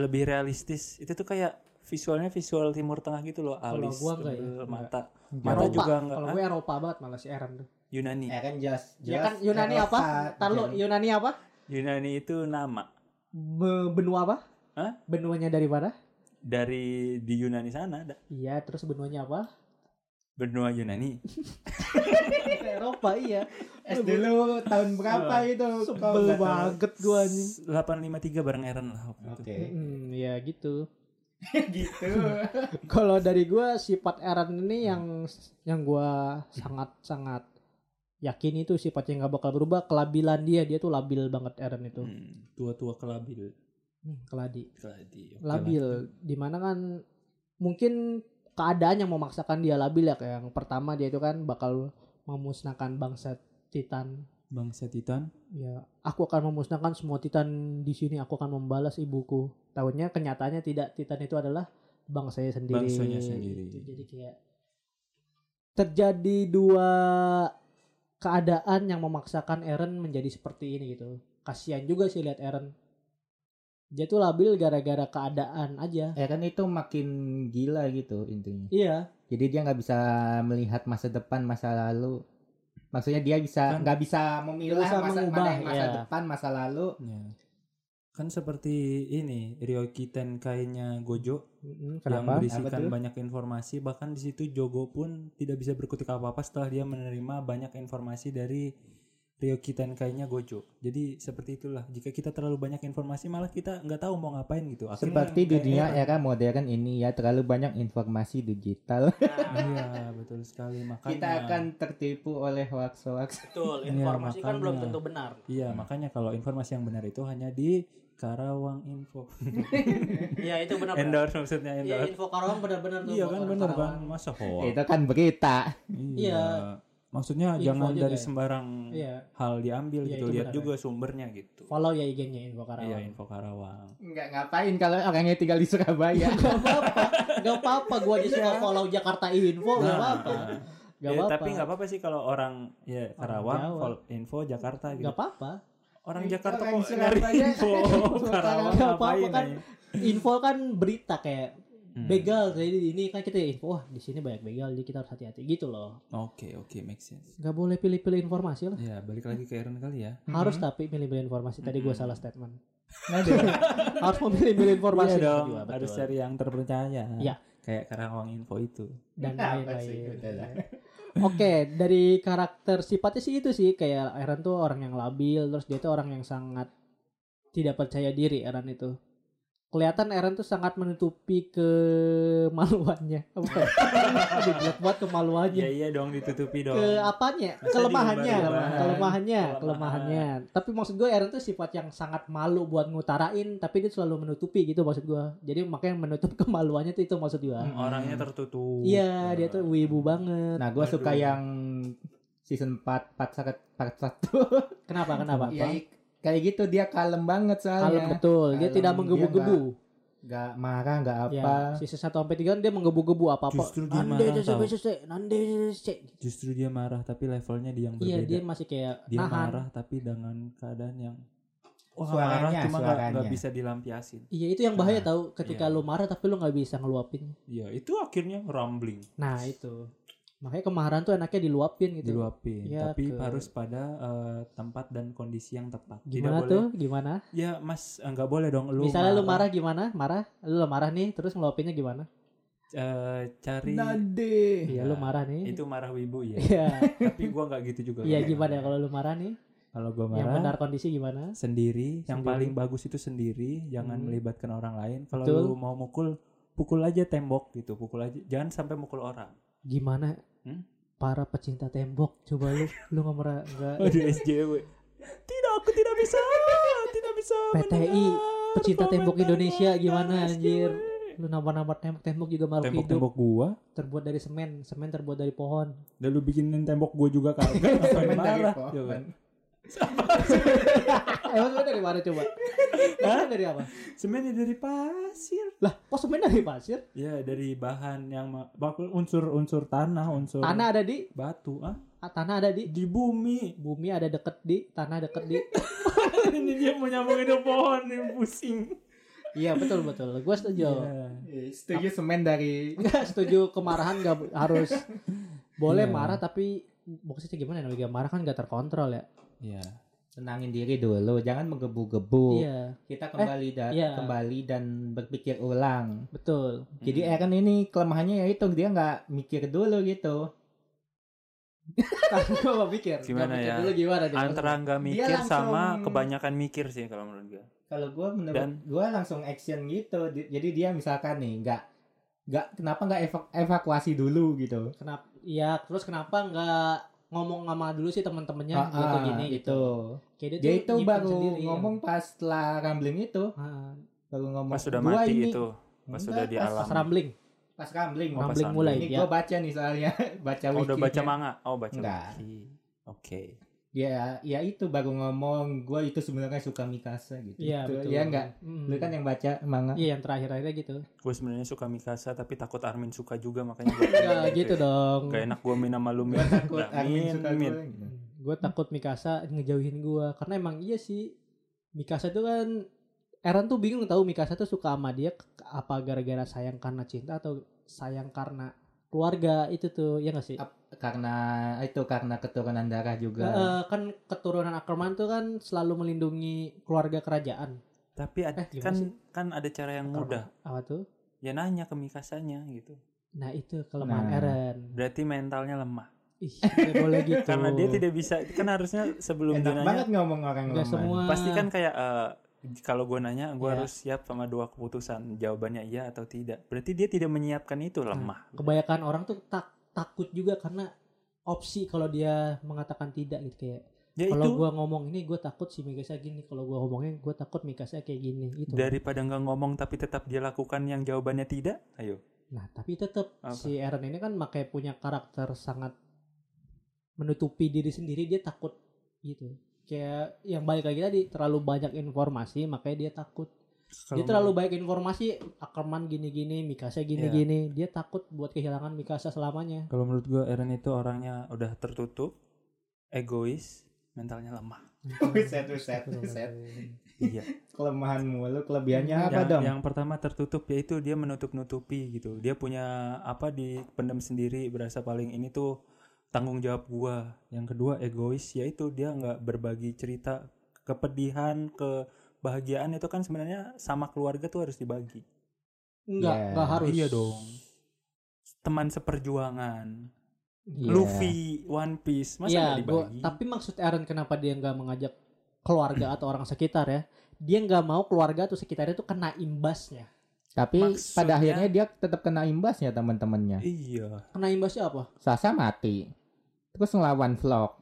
Speaker 3: lebih realistis itu tuh kayak visualnya visual timur tengah gitu loh
Speaker 2: Kalau
Speaker 3: alis
Speaker 2: gua enggak ya,
Speaker 3: tebel,
Speaker 2: enggak.
Speaker 3: mata mata
Speaker 2: Eropa.
Speaker 3: juga enggak
Speaker 2: Kalau
Speaker 3: ah,
Speaker 2: gue Eropa banget malah si Aaron tuh.
Speaker 3: Yunani
Speaker 4: Eh kan jelas,
Speaker 2: Ya
Speaker 4: jelas
Speaker 2: kan Yunani
Speaker 4: Eropa,
Speaker 2: apa? iya. Ntar lu,
Speaker 4: Jerman.
Speaker 2: Yunani apa?
Speaker 3: Yunani itu nama
Speaker 2: Be- Benua apa?
Speaker 3: Hah?
Speaker 2: Benuanya dari mana?
Speaker 3: dari di Yunani sana ada
Speaker 2: Iya, terus benuanya apa?
Speaker 3: benua Yunani
Speaker 2: Eropa iya.
Speaker 4: Es dulu tahun berapa itu? Kau
Speaker 2: Sebel
Speaker 4: nggak tahu.
Speaker 2: banget gua anjing.
Speaker 3: 853 bareng Eren lah waktu itu.
Speaker 4: Oke,
Speaker 2: Hmm, ya gitu.
Speaker 4: gitu.
Speaker 2: Kalau dari gua sifat Aaron ini yang yang gua sangat-sangat yakin itu sifatnya nggak bakal berubah kelabilan dia dia tuh labil banget Aaron itu
Speaker 3: Hmm, tua-tua kelabil
Speaker 2: Hmm, keladi
Speaker 3: keladi oke lah.
Speaker 2: labil dimana kan mungkin keadaan yang memaksakan dia labil ya kayak yang pertama dia itu kan bakal memusnahkan bangsa Titan
Speaker 3: bangsa Titan
Speaker 2: ya aku akan memusnahkan semua Titan di sini aku akan membalas ibuku tahunnya kenyataannya tidak Titan itu adalah bangsanya sendiri
Speaker 3: Bangsanya sendiri.
Speaker 2: Gitu. jadi kayak terjadi dua keadaan yang memaksakan Eren menjadi seperti ini gitu kasihan juga sih lihat Eren dia tuh labil gara-gara keadaan aja
Speaker 4: Eh kan itu makin gila gitu intinya.
Speaker 2: Iya,
Speaker 4: Jadi dia nggak bisa melihat masa depan, masa lalu. Maksudnya dia bisa
Speaker 3: Kan-
Speaker 4: nggak bisa memilah
Speaker 2: Nggak bisa
Speaker 4: masa
Speaker 2: mengubah,
Speaker 4: mana yang masa
Speaker 2: ya.
Speaker 4: depan, masa lalu.
Speaker 3: ya. kan seperti ini Ryoki Tenkainya Gojo
Speaker 2: Mm-mm,
Speaker 3: yang
Speaker 2: kenapa?
Speaker 3: berisikan
Speaker 4: Apa tuh?
Speaker 3: banyak informasi bahkan di situ Jogo pun tidak bisa berkutik apa-apa setelah dia menerima banyak informasi dari Ryoki Tenkainya Gojo jadi seperti itulah jika kita terlalu banyak informasi malah kita nggak tahu mau ngapain gitu Akhirnya
Speaker 4: Seperti
Speaker 3: kayak ya,
Speaker 4: dunia
Speaker 2: gitu.
Speaker 3: Eren.
Speaker 4: era modern ini ya terlalu banyak informasi digital.
Speaker 3: iya betul sekali
Speaker 2: Kan
Speaker 3: makanya
Speaker 4: Kita
Speaker 2: ya.
Speaker 4: akan tertipu oleh hoax-hoax.
Speaker 2: Betul,
Speaker 3: Iya,
Speaker 2: informasi kan
Speaker 3: makanya.
Speaker 2: belum tentu benar.
Speaker 3: iya makanya kalau informasi yang benar itu hanya di Karawang Info
Speaker 2: Iya, itu benar. benar.
Speaker 3: endorse maksudnya
Speaker 2: Iya,
Speaker 3: endorse
Speaker 2: info Karawang benar-benar tuh.
Speaker 3: iya
Speaker 2: buat
Speaker 3: kan
Speaker 2: orang
Speaker 3: bener
Speaker 2: Karawang.
Speaker 3: kan masa hoax
Speaker 4: Itu kan berita.
Speaker 3: iya maksudnya
Speaker 2: Info
Speaker 3: jangan
Speaker 2: juga
Speaker 3: dari
Speaker 2: ya.
Speaker 3: sembarang
Speaker 2: Iya,
Speaker 3: hal diambil
Speaker 2: Iya,
Speaker 3: gitu
Speaker 2: itu
Speaker 3: lihat
Speaker 2: benar,
Speaker 3: juga sumbernya gitu
Speaker 2: follow ya IG-nya info Karawang.
Speaker 3: Iya info Karawang.
Speaker 4: Nggak ngapain kalau orangnya tinggal di Surabaya.
Speaker 2: Gak apa-apa, gak apa-apa. Gua aja suka follow Jakarta Info, gak Oh, apa-apa. Gak
Speaker 3: Nah, Ya,
Speaker 2: apa-apa.
Speaker 3: tapi nggak apa-apa sih kalau orang ya
Speaker 2: Jawa.
Speaker 3: Karawang,
Speaker 2: Iya,
Speaker 3: Vol- info Jakarta gitu.
Speaker 2: Gak apa-apa.
Speaker 3: Orang
Speaker 4: Itu
Speaker 3: Jakarta
Speaker 4: orang
Speaker 3: kok nyari
Speaker 4: Surabaya.
Speaker 3: info Karawang
Speaker 2: Nggak apa-apa
Speaker 3: ngapain
Speaker 2: kan.
Speaker 3: ya?
Speaker 2: Info kan berita kayak
Speaker 3: Hmm.
Speaker 2: begal jadi ini kan kita info wah di sini banyak begal jadi kita harus hati-hati gitu loh
Speaker 3: Oke, oke, make sense.
Speaker 2: nggak boleh pilih-pilih informasi lah
Speaker 3: Ya, balik lagi ke Aaron kali ya.
Speaker 2: harus
Speaker 4: Mhm.
Speaker 2: tapi milih-milih informasi tadi gua
Speaker 3: Mhm.
Speaker 2: salah statement
Speaker 4: Nah, dia-
Speaker 2: harus memilih-milih informasi
Speaker 3: Iya dong,
Speaker 2: Iya, betul.
Speaker 3: harus cari yang terpercaya.
Speaker 2: Iya.
Speaker 3: Kayak Karawang Info itu.
Speaker 2: dan
Speaker 4: Apa sih,
Speaker 2: lain-lain Iya.
Speaker 4: udah lah.
Speaker 2: gitu oke dari karakter sifatnya sih itu sih kayak Aaron tuh orang yang labil terus dia tuh orang yang sangat tidak percaya diri Aaron itu kelihatan Aaron tuh sangat menutupi kemaluannya Apa bukan Aduh, jelek banget kemaluannya
Speaker 3: iya dong, ditutupi dong.
Speaker 2: ke apanya
Speaker 3: Masa
Speaker 2: kelemahannya
Speaker 3: diumbar-umbar.
Speaker 2: kelemahannya
Speaker 3: Kelemahan.
Speaker 2: kelemahannya tapi maksud gue Aaron tuh sifat yang sangat malu buat ngutarain tapi dia selalu menutupi gitu maksud gue jadi makanya menutup kemaluannya tuh itu maksud gue
Speaker 4: Hmm.
Speaker 3: Orangnya tertutup. Gitu.
Speaker 2: iya dia tuh wibu banget
Speaker 4: nah gue suka
Speaker 3: Aduh.
Speaker 4: yang season 4 part satu part satu
Speaker 2: kenapa kenapa
Speaker 4: Iya, i- kayak gitu dia kalem banget
Speaker 2: kalem
Speaker 4: soalnya
Speaker 2: betul dia
Speaker 4: Kalem,
Speaker 2: tidak
Speaker 4: dia
Speaker 2: menggebu-gebu
Speaker 4: nggak marah nggak apa
Speaker 2: ya Iya sisa satu sampai tiga dia menggebu-gebu apa apa
Speaker 3: Justru dia
Speaker 2: nande
Speaker 3: marah,
Speaker 2: cece,
Speaker 3: tau.
Speaker 2: cece, nande cece.
Speaker 3: Justru dia marah, tapi levelnya dia yang berbeda.
Speaker 2: iya dia masih kayak
Speaker 3: Dia
Speaker 2: nahan
Speaker 3: marah, tapi dengan keadaan yang... Wah,
Speaker 4: Suaranya,
Speaker 3: marah cuma nggak-
Speaker 4: suaranya.
Speaker 3: nggak bisa dilampiasin.
Speaker 2: iya itu yang bahaya tahu ketika
Speaker 3: Iya.
Speaker 2: lu marah tapi lu nggak bisa ngeluapin
Speaker 3: Ya, itu akhirnya rambling.
Speaker 2: nah itu makanya kemarahan tuh enaknya diluapin gitu
Speaker 3: Diluapin.
Speaker 2: Iya,
Speaker 3: tapi
Speaker 2: ke-
Speaker 3: harus pada eh, tempat dan kondisi yang tepat.
Speaker 2: Gimana
Speaker 3: Tidak
Speaker 2: tuh?
Speaker 3: boleh.
Speaker 2: Gimana?
Speaker 3: Ya, mas, eh, nggak boleh dong. Lu
Speaker 2: Misalnya lu marah gimana? Marah? Lu marah nih, terus ngeluapinnya gimana?
Speaker 3: eh, cari...
Speaker 4: Nah, nade
Speaker 2: Iya, lu marah nih.
Speaker 3: Itu marah wibu ya.
Speaker 2: Iya.
Speaker 3: tapi gua nggak gitu juga.
Speaker 2: Iya, gimana kalau lu marah nih?
Speaker 3: Kalau gua
Speaker 2: Yang
Speaker 3: marah
Speaker 2: benar kondisi gimana?
Speaker 3: sendiri, yang
Speaker 2: Sendiri.
Speaker 3: paling bagus itu sendiri, jangan
Speaker 2: Hmm.
Speaker 3: melibatkan orang lain. Kalau
Speaker 2: Betul.
Speaker 3: lu mau mukul, pukul aja tembok gitu, pukul aja. Jangan sampai mukul orang.
Speaker 2: Gimana?
Speaker 3: Hmm?
Speaker 2: Para pecinta tembok, coba lu lu nggak merah nggak
Speaker 3: Aduh SJW. tidak, aku tidak bisa. Tidak bisa.
Speaker 2: PTI,
Speaker 3: mendengar
Speaker 2: pecinta tembok
Speaker 3: komentar-
Speaker 2: Indonesia
Speaker 3: komentar
Speaker 2: gimana,
Speaker 3: SJW.
Speaker 2: anjir? lu nambah-nambah tembok-tembok juga makhluk hidup
Speaker 3: Tembok-tembok gua.
Speaker 2: terbuat dari semen, semen terbuat dari pohon.
Speaker 3: Dan lu bikinin tembok gua juga kagak. Sampai
Speaker 4: Semen dari
Speaker 2: iya
Speaker 3: marah.
Speaker 4: pohon.
Speaker 3: Ya kan?
Speaker 2: Emang semen Eh, dari mana coba?
Speaker 3: Hah?
Speaker 2: Semen dari apa?
Speaker 3: Semennya ya dari pasir.
Speaker 2: Lah, kok semen dari pasir?
Speaker 3: Ya dari bahan yang ma- unsur-unsur tanah, unsur
Speaker 2: Tanah ada di,
Speaker 3: batu. Ah,
Speaker 2: ah, tanah ada di,
Speaker 3: di bumi.
Speaker 2: bumi ada deket di, tanah deket di.
Speaker 3: ini dia mau nyambungin ke pohon nih pusing
Speaker 2: Iya betul betul. Gue setuju.
Speaker 3: Iya.
Speaker 4: Iya. setuju semen dari
Speaker 2: Nggak setuju kemarahan nggak bu- harus boleh
Speaker 3: Iya.
Speaker 2: marah tapi maksudnya gimana namanya marah kan nggak terkontrol ya.
Speaker 3: Iya.
Speaker 4: tenangin diri dulu jangan menggebu-gebu
Speaker 2: Iya
Speaker 4: kita kembali dan
Speaker 2: iya. Hmm.
Speaker 4: kembali dan berpikir ulang
Speaker 2: betul.
Speaker 4: Jadi Aaron ini kelemahannya ya itu dia nggak mikir dulu gitu.
Speaker 2: Gue mau pikir. Nggak
Speaker 3: Gimana
Speaker 2: mikir
Speaker 3: ya?
Speaker 4: gitu.
Speaker 2: Dulu gimana dia?
Speaker 3: antara nggak mikir
Speaker 4: langsung-
Speaker 3: sama kebanyakan mikir sih kalau menurut gue
Speaker 4: Kalau gue menurut
Speaker 3: Dan-
Speaker 4: gue langsung action gitu. Di- Jadi dia misalkan nih nggak nggak kenapa nggak eva- evakuasi dulu gitu.
Speaker 2: Kenapa? Iya terus kenapa nggak ngomong sama dulu sih teman-temannya
Speaker 4: Ah,
Speaker 2: gitu
Speaker 4: ah,
Speaker 2: gini gitu.
Speaker 4: gitu.
Speaker 2: Kayak
Speaker 4: Dia
Speaker 2: tuh
Speaker 4: itu
Speaker 2: nyimpen
Speaker 4: baru
Speaker 2: sendiri, ya.
Speaker 4: ngomong pas setelah rambling itu
Speaker 2: Ah,
Speaker 4: baru ngomong.
Speaker 3: pas sudah
Speaker 4: "Gua
Speaker 3: mati
Speaker 4: ini-
Speaker 3: itu pas
Speaker 4: Enggak,
Speaker 3: sudah di
Speaker 4: pas-
Speaker 3: alam
Speaker 2: Pas rambling,
Speaker 4: Pas rambling.
Speaker 3: Oh, pas
Speaker 2: rambling
Speaker 3: rambling.
Speaker 2: mulai
Speaker 4: ini
Speaker 2: ya.
Speaker 4: gue baca nih soalnya baca
Speaker 3: oh, udah
Speaker 4: wiki.
Speaker 3: baca manga oh baca
Speaker 4: Enggak.
Speaker 3: wiki oke
Speaker 4: Ya ya itu baru ngomong gue itu sebenarnya suka Mikasa gitu.
Speaker 2: Iya
Speaker 4: Gitu.
Speaker 2: betul.
Speaker 4: Ya enggak.
Speaker 2: Mm.
Speaker 4: Lu kan yang baca manga.
Speaker 2: Iya yang terakhir akhirnya gitu.
Speaker 3: gue sebenarnya suka Mikasa tapi takut Armin suka juga makanya gue
Speaker 2: Nggak gitu dong.
Speaker 3: gak enak gue main sama lu Min.
Speaker 4: Gue Ya, kan takut
Speaker 3: Nggak,
Speaker 4: Armin
Speaker 3: Min,
Speaker 4: suka
Speaker 3: Min.
Speaker 4: gue. gitu.
Speaker 2: gue takut Mikasa ngejauhin gue karena emang iya sih Mikasa itu kan Eren tuh bingung tahu Mikasa tuh suka sama dia k- apa gara-gara sayang karena cinta atau sayang karena keluarga itu tuh ya gak sih
Speaker 4: Ap- karena itu karena keturunan darah juga.
Speaker 2: Eh, kan keturunan Ackerman tuh kan selalu melindungi keluarga kerajaan
Speaker 3: tapi
Speaker 2: Eh,
Speaker 3: ada,
Speaker 2: gimana
Speaker 3: kan
Speaker 2: sih?
Speaker 3: kan ada cara yang mudah
Speaker 2: apa tuh
Speaker 3: ya nanya ke Mikasanya gitu
Speaker 2: nah itu kelemahan
Speaker 4: Nah.
Speaker 2: Eren
Speaker 3: berarti mentalnya lemah
Speaker 2: ih nggak boleh gitu
Speaker 3: karena dia tidak bisa kan harusnya sebelum dia
Speaker 4: Enak
Speaker 3: nanya
Speaker 4: banget ngomong orang
Speaker 2: nggak
Speaker 4: lemah.
Speaker 2: semua
Speaker 3: pasti kan kayak eh, kalau gue nanya gue
Speaker 2: Ah. Iya.
Speaker 3: harus siap sama dua keputusan jawabannya iya atau tidak berarti dia tidak menyiapkan itu
Speaker 2: Nah,
Speaker 3: lemah
Speaker 2: kebanyakan orang tuh tak takut juga karena opsi kalau dia mengatakan tidak gitu kayak
Speaker 3: ya
Speaker 2: kalau
Speaker 3: itu
Speaker 2: gua ngomong ini gua takut si Mikasa gini kalau gua ngomongnya gua takut Mikasa kayak gini gitu
Speaker 3: daripada nggak ngomong tapi tetap dia lakukan yang jawabannya tidak ayo
Speaker 2: nah tapi tetap
Speaker 3: Apa?
Speaker 2: si Eren ini kan makanya punya karakter sangat menutupi diri sendiri dia takut gitu kayak yang balik lagi tadi terlalu banyak informasi makanya dia takut dia terlalu banyak informasi Ackerman gini-gini Mikasa
Speaker 3: Iya.
Speaker 2: gini-gini dia takut buat kehilangan Mikasa selamanya
Speaker 3: kalau menurut gue Eren itu orangnya udah tertutup egois mentalnya lemah
Speaker 4: Buset, buset, buset.
Speaker 3: Iya.
Speaker 4: Kelemahan mulu, kelebihannya apa
Speaker 3: yang,
Speaker 4: dong?
Speaker 3: yang pertama tertutup yaitu dia menutup-nutupi gitu. Dia punya apa di pendem sendiri berasa paling ini tuh tanggung jawab gua. Yang kedua egois yaitu dia nggak berbagi cerita kepedihan kebahagiaan itu kan sebenarnya sama keluarga tuh harus dibagi.
Speaker 2: Enggak,
Speaker 4: Yeah.
Speaker 2: enggak harus.
Speaker 3: Iya dong. Teman seperjuangan,
Speaker 4: Iya.
Speaker 3: Luffy, One Piece, masa
Speaker 2: Iya,
Speaker 3: nggak
Speaker 2: gua,
Speaker 3: dibagi?
Speaker 2: tapi maksud Aaron kenapa dia nggak mengajak keluarga atau orang sekitar ya? Dia nggak mau keluarga atau sekitarnya tuh kena imbasnya.
Speaker 4: Tapi
Speaker 3: Maksudnya-
Speaker 4: pada akhirnya dia tetap kena imbasnya teman-temannya.
Speaker 3: Iya.
Speaker 2: Kena imbasnya apa?
Speaker 4: Sasa mati. Terus ngelawan vlog.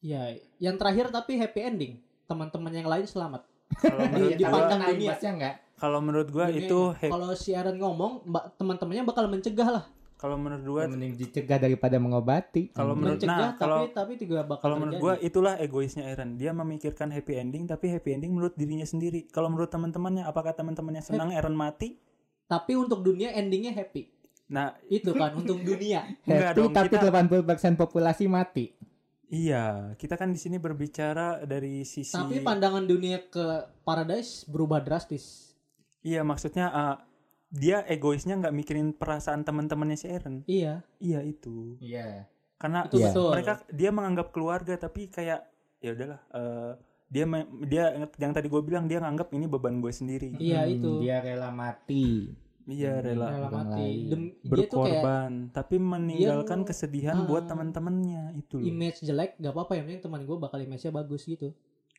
Speaker 2: Ya, yang terakhir tapi happy ending. Teman-teman yang lain selamat.
Speaker 3: Kalau menurut
Speaker 2: Di-
Speaker 3: gua,
Speaker 2: dipandang dunia.
Speaker 4: imbasnya enggak?
Speaker 3: kalau menurut gua
Speaker 2: Ini
Speaker 3: itu he-
Speaker 2: Kalau si Aaron ngomong, mbak- teman-temannya bakal mencegah lah.
Speaker 3: kalau menurut gua
Speaker 4: Mending dicegah daripada mengobati. Hmm.
Speaker 3: Kalau menurut-
Speaker 2: mencegah
Speaker 3: nah,
Speaker 2: tapi
Speaker 3: kalau-
Speaker 2: tapi juga bakal
Speaker 3: Kalau menurut
Speaker 2: terjadi.
Speaker 3: gua itulah egoisnya Aaron. Dia memikirkan happy ending tapi happy ending menurut dirinya sendiri. Kalau menurut teman-temannya apakah teman-temannya senang Aaron mati?
Speaker 2: tapi untuk dunia endingnya happy.
Speaker 3: Nah,
Speaker 2: Itu kan untuk dunia.
Speaker 3: Enggak
Speaker 4: Happy
Speaker 3: dong,
Speaker 4: tapi
Speaker 3: kita-
Speaker 4: 80% populasi mati.
Speaker 3: iya, kita kan di sini berbicara dari sisi
Speaker 2: Tapi pandangan dunia ke paradise berubah drastis.
Speaker 3: Iya, maksudnya eh, dia egoisnya nggak mikirin perasaan teman-temannya si Aaron.
Speaker 2: Iya,
Speaker 3: Iya, itu.
Speaker 4: Iya.
Speaker 3: Karena
Speaker 2: itu
Speaker 4: Iya.
Speaker 2: betul.
Speaker 3: mereka dia menganggap keluarga tapi kayak ya udahlah eh, dia me- dia yang tadi gue bilang dia nganggap ini beban gue sendiri.
Speaker 2: Iya, itu.
Speaker 4: Hmm, Dia rela mati.
Speaker 3: Iya, rela.
Speaker 2: Rela
Speaker 4: Orang
Speaker 2: mati.
Speaker 4: lain.
Speaker 2: Dem- dia tuh kayak
Speaker 3: berkorban tapi meninggalkan
Speaker 2: Dia-
Speaker 3: kesedihan
Speaker 2: Ah.
Speaker 3: buat teman-temannya itu loh.
Speaker 2: image jelek gak apa-apa yang penting teman gue bakal image-nya bagus gitu.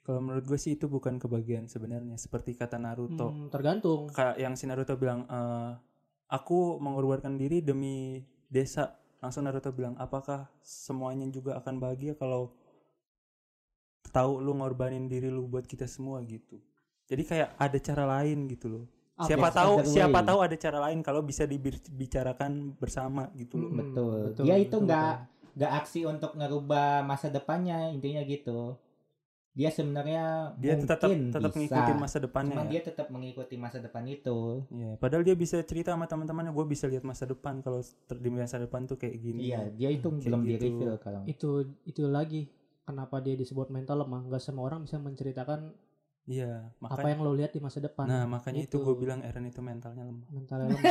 Speaker 3: kalau menurut gue sih itu bukan kebahagiaan sebenarnya seperti kata Naruto
Speaker 2: Hmm, tergantung.
Speaker 3: kayak yang si Naruto bilang "Eh, aku mengorbankan diri demi desa langsung Naruto bilang apakah semuanya juga akan bahagia kalau tahu lu ngorbanin diri lu buat kita semua gitu jadi kayak ada cara lain gitu loh
Speaker 2: Apa?
Speaker 3: siapa tahu
Speaker 4: other
Speaker 3: siapa
Speaker 4: way.
Speaker 3: tahu ada cara lain kalau bisa dibicarakan bersama gitu loh
Speaker 2: Hmm,
Speaker 4: Betul. Dia itu
Speaker 2: betul,
Speaker 4: nggak
Speaker 2: betul.
Speaker 4: nggak aksi untuk ngerubah masa depannya intinya gitu. Dia sebenarnya
Speaker 3: dia tetap
Speaker 4: mungkin
Speaker 3: tetap
Speaker 4: bisa.
Speaker 3: ngikutin masa depannya
Speaker 4: Cuman
Speaker 3: ya.
Speaker 4: dia tetap mengikuti masa depan itu.
Speaker 3: Iya, padahal dia bisa cerita sama teman-temannya, gue bisa lihat masa depan kalau ter- di masa depan tuh kayak gini.
Speaker 4: Iya, dia itu
Speaker 3: Hmm. Kayak
Speaker 4: belum di
Speaker 3: gitu.
Speaker 4: reveal kalau.
Speaker 2: itu itu lagi kenapa dia disebut mental lemah nggak semua orang bisa menceritakan
Speaker 3: Iya,
Speaker 2: apa
Speaker 3: makanya.
Speaker 2: yang lo lihat di masa depan
Speaker 3: Nah, makanya itu,
Speaker 2: Gitu.
Speaker 3: gue bilang Aaron itu mentalnya lemah.
Speaker 2: mental lemah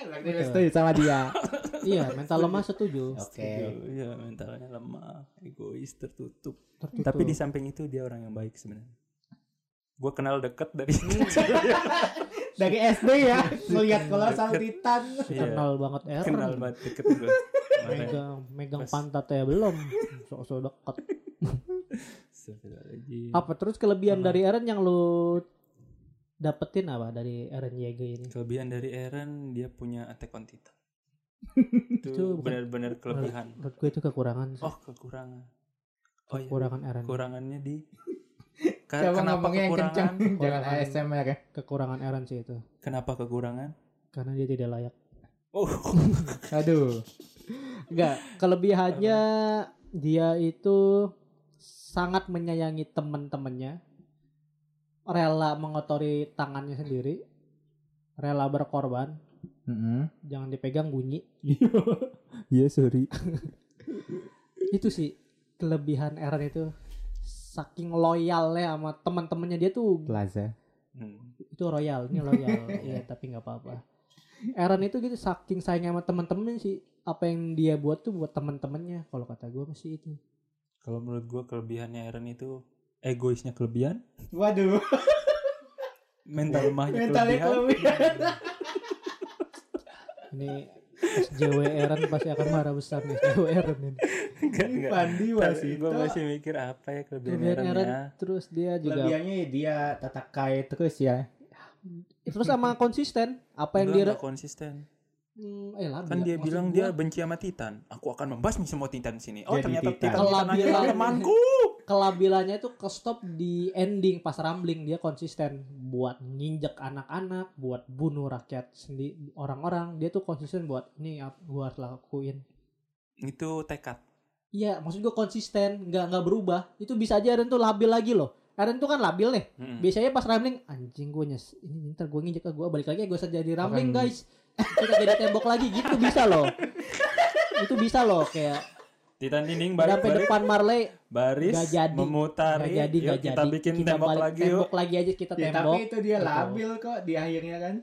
Speaker 4: Berarti lu setuju sama dia.
Speaker 2: iya mental lemah setuju
Speaker 4: Oke.
Speaker 3: Setuju. Iya, mentalnya lemah, egois, tertutup.
Speaker 2: Tertutup.
Speaker 3: Tapi di samping itu dia orang yang baik sebenarnya. Gue kenal deket dari Iya,
Speaker 4: Dari SD ya, ngelihat kolosal titan.
Speaker 3: Iya,
Speaker 2: kenal banget Aaron
Speaker 3: kenal banget deket gue.
Speaker 2: megang megang
Speaker 3: Pas.
Speaker 2: pantatnya belum sok-sok dekat
Speaker 3: Astagfirullahaladzim.
Speaker 2: apa terus kelebihan dari Aaron yang lo dapetin apa dari Aaron Yeager ini
Speaker 3: Kelebihan dari Aaron dia punya attack on Titan.
Speaker 2: Itu
Speaker 3: itu
Speaker 2: bukan-
Speaker 3: benar-benar kelebihan.
Speaker 2: menurut gue itu kekurangan
Speaker 4: Gitu.
Speaker 2: sih.
Speaker 3: Oh, kekurangan. Oh iya.
Speaker 2: kekurangan Aaron
Speaker 3: kekurangannya di Ka-
Speaker 4: Coba
Speaker 3: kenapa
Speaker 4: ngomongnya yang kencang,
Speaker 3: kekurangan
Speaker 4: jangan
Speaker 2: Kekurangan.
Speaker 4: ASMR ya.
Speaker 2: kekurangan Aaron sih itu
Speaker 3: kenapa kekurangan
Speaker 2: karena dia tidak layak
Speaker 3: oh
Speaker 4: Aduh.
Speaker 2: Enggak, kelebihannya dia itu sangat menyayangi teman-temannya. Rela mengotori tangannya sendiri. Rela berkorban, jangan dipegang bunyi.
Speaker 3: iya sorry
Speaker 2: Itu sih kelebihan Aaron itu saking loyalnya sama teman-temannya dia tuh
Speaker 4: Plaza.
Speaker 3: Hmm.
Speaker 2: itu royal, ini loyal. Iya, tapi nggak apa-apa. Aaron itu gitu saking sayangnya sama teman-temannya sih apa yang dia buat tuh buat teman-temannya kalau kata gue masih itu
Speaker 3: kalau menurut gua kelebihannya Aaron itu egoisnya kelebihan
Speaker 4: Waduh,
Speaker 3: mental lemahnya
Speaker 4: mentalnya
Speaker 3: kelebihan
Speaker 4: kelebihan.
Speaker 2: Ini SJW Aaron pasti akan marah besar nih SJW Aaron ini.
Speaker 3: Enggak,
Speaker 4: Ini
Speaker 3: enggak.
Speaker 4: Pandi
Speaker 3: Ntar gua
Speaker 4: Wasito.
Speaker 3: masih mikir apa ya kelebihan
Speaker 2: Kelebihan
Speaker 3: Aaron,
Speaker 2: Aaron
Speaker 3: ya
Speaker 2: terus dia juga
Speaker 4: Kelebihannya dia tatakai terus ya.
Speaker 2: terus sama konsisten apa yang
Speaker 3: Enggak,
Speaker 2: dia
Speaker 3: enggak konsisten
Speaker 2: Hmm, eh
Speaker 4: Iya,
Speaker 2: lah
Speaker 3: kan dia bilang dia benci sama Titan aku akan membasmi semua Titan di sini oh
Speaker 4: Jadi
Speaker 3: ternyata
Speaker 4: Titan.
Speaker 3: Titan Titan
Speaker 2: Kelabilan.
Speaker 3: adalah temanku
Speaker 2: kelabilannya itu ke stop di ending pas rambling dia konsisten buat nginjek anak-anak buat bunuh rakyat sendiri orang-orang dia tuh konsisten buat ini ap- gua harus lakuin
Speaker 3: itu tekad
Speaker 2: iya maksud gua konsisten nggak nggak berubah itu bisa aja Aaron tuh labil lagi loh Aaron tuh kan labil nih
Speaker 3: Mm-mm.
Speaker 2: biasanya pas rambling anjing gue nyes ini ntar gue nginjek gue balik lagi gue jadi rambling
Speaker 4: Orang-
Speaker 2: guys kita jadi tembok lagi gitu bisa loh itu bisa loh kayak
Speaker 3: Titan dinding
Speaker 2: Udah sampai
Speaker 3: balik-balik.
Speaker 2: depan Marley
Speaker 3: Baris
Speaker 2: Nggak jadi.
Speaker 3: memutari.
Speaker 2: nggak jadi
Speaker 3: Yuk,
Speaker 2: nggak
Speaker 3: kita
Speaker 2: jadi.
Speaker 3: bikin tembok
Speaker 2: balik-
Speaker 3: lagi yuk. Iya,
Speaker 2: tembok lagi aja kita
Speaker 6: Ya,
Speaker 2: tembok
Speaker 6: tapi itu dia
Speaker 2: Betul.
Speaker 6: labil kok di akhirnya kan.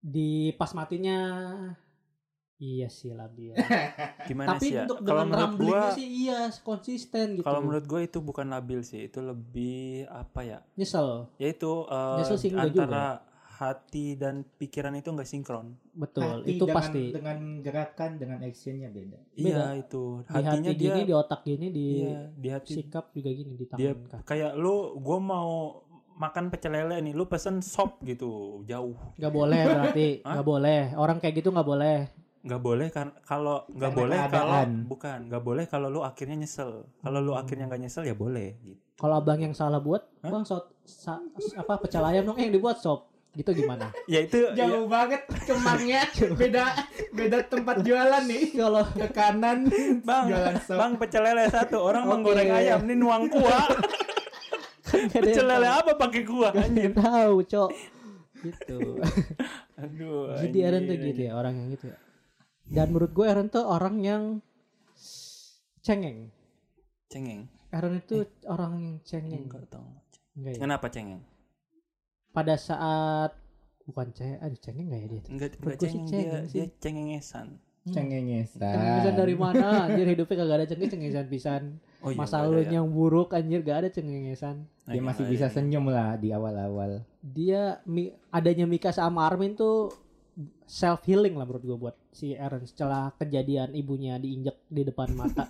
Speaker 2: di pas matinya iya sih labil
Speaker 3: Gimana
Speaker 2: tapi
Speaker 3: sih ya?
Speaker 2: untuk dengan
Speaker 3: Kalau menurut gua,
Speaker 2: ramblingnya sih iya konsisten gitu
Speaker 3: kalau menurut gue itu bukan labil sih, itu lebih apa ya?
Speaker 2: nyesel
Speaker 3: Yaitu eh,
Speaker 2: Nyesel sih enggak
Speaker 3: antara hati dan pikiran itu nggak sinkron.
Speaker 2: betul
Speaker 6: Hati
Speaker 2: itu
Speaker 6: dengan-
Speaker 2: pasti
Speaker 6: dengan gerakan dengan actionnya beda.
Speaker 3: Iya itu.
Speaker 2: di hati
Speaker 3: Hatinya dia
Speaker 2: gini di otak gini di
Speaker 3: iya, di hati
Speaker 2: sikap juga gini di tangan kan.
Speaker 3: dia
Speaker 2: kaki.
Speaker 3: kayak lu gue mau makan pecel lele nih, lu pesen sop gitu, jauh.
Speaker 2: nggak boleh berarti
Speaker 3: Hah?
Speaker 2: nggak boleh orang kayak gitu nggak boleh
Speaker 3: nggak boleh kan kalau nggak
Speaker 6: Karena
Speaker 3: boleh kalau
Speaker 4: keadaan.
Speaker 3: bukan nggak boleh kalau lu akhirnya nyesel kalau
Speaker 2: Hmm.
Speaker 3: lu akhirnya nggak nyesel ya boleh gitu
Speaker 2: kalau abang yang salah buat
Speaker 3: Hah?
Speaker 2: bang sot sa- apa pecel ayam dong eh, yang dibuat sop gitu gimana
Speaker 3: ya itu ya,
Speaker 6: Jauh banget kemangnya. beda beda tempat jualan nih.
Speaker 2: kalau
Speaker 6: Ke kanan
Speaker 3: bang
Speaker 6: jualan sop.
Speaker 3: bang pecel lele satu orang
Speaker 2: Oke.
Speaker 3: menggoreng ayam nih nuang kuah
Speaker 2: Kan nggak ada yang
Speaker 3: pecel lele apa pakai kuah
Speaker 2: Gak ada
Speaker 3: anjir
Speaker 2: yang tahu, cok. Gitu.
Speaker 3: aduh
Speaker 2: Jadi Aaron tuh gitu ya, orang yang gitu ya. Dan menurut gue Aaron tuh orang yang cengeng.
Speaker 3: cengeng
Speaker 2: Aaron itu orang yang cengeng.
Speaker 3: nggak tahu
Speaker 2: Enggak ya.
Speaker 3: kenapa cengeng
Speaker 2: Pada saat bukan cengeng, aduh cengeng gak ya dia? tuh?
Speaker 3: nggak
Speaker 2: Menurut
Speaker 3: nggak
Speaker 2: gua sih
Speaker 3: cengeng
Speaker 2: cengeng
Speaker 3: dia
Speaker 2: sih.
Speaker 3: dia cengengesan
Speaker 6: Cengengesan.
Speaker 2: Cengengesan dari mana? Anjir hidupnya kagak ada cengeng cengengesan pisan.
Speaker 3: oh
Speaker 2: Masa
Speaker 3: nggak
Speaker 2: lu
Speaker 3: ada ya.
Speaker 2: yang buruk anjir gak ada cengengesan.
Speaker 3: Nah,
Speaker 4: Dia
Speaker 3: nggak
Speaker 4: masih
Speaker 3: ada
Speaker 4: bisa
Speaker 3: ya.
Speaker 4: senyum lah di awal-awal.
Speaker 6: Iya
Speaker 2: Dia Mi- adanya Mika sama Armin tuh self healing lah menurut gue buat si Aaron setelah kejadian ibunya diinjek di depan mata.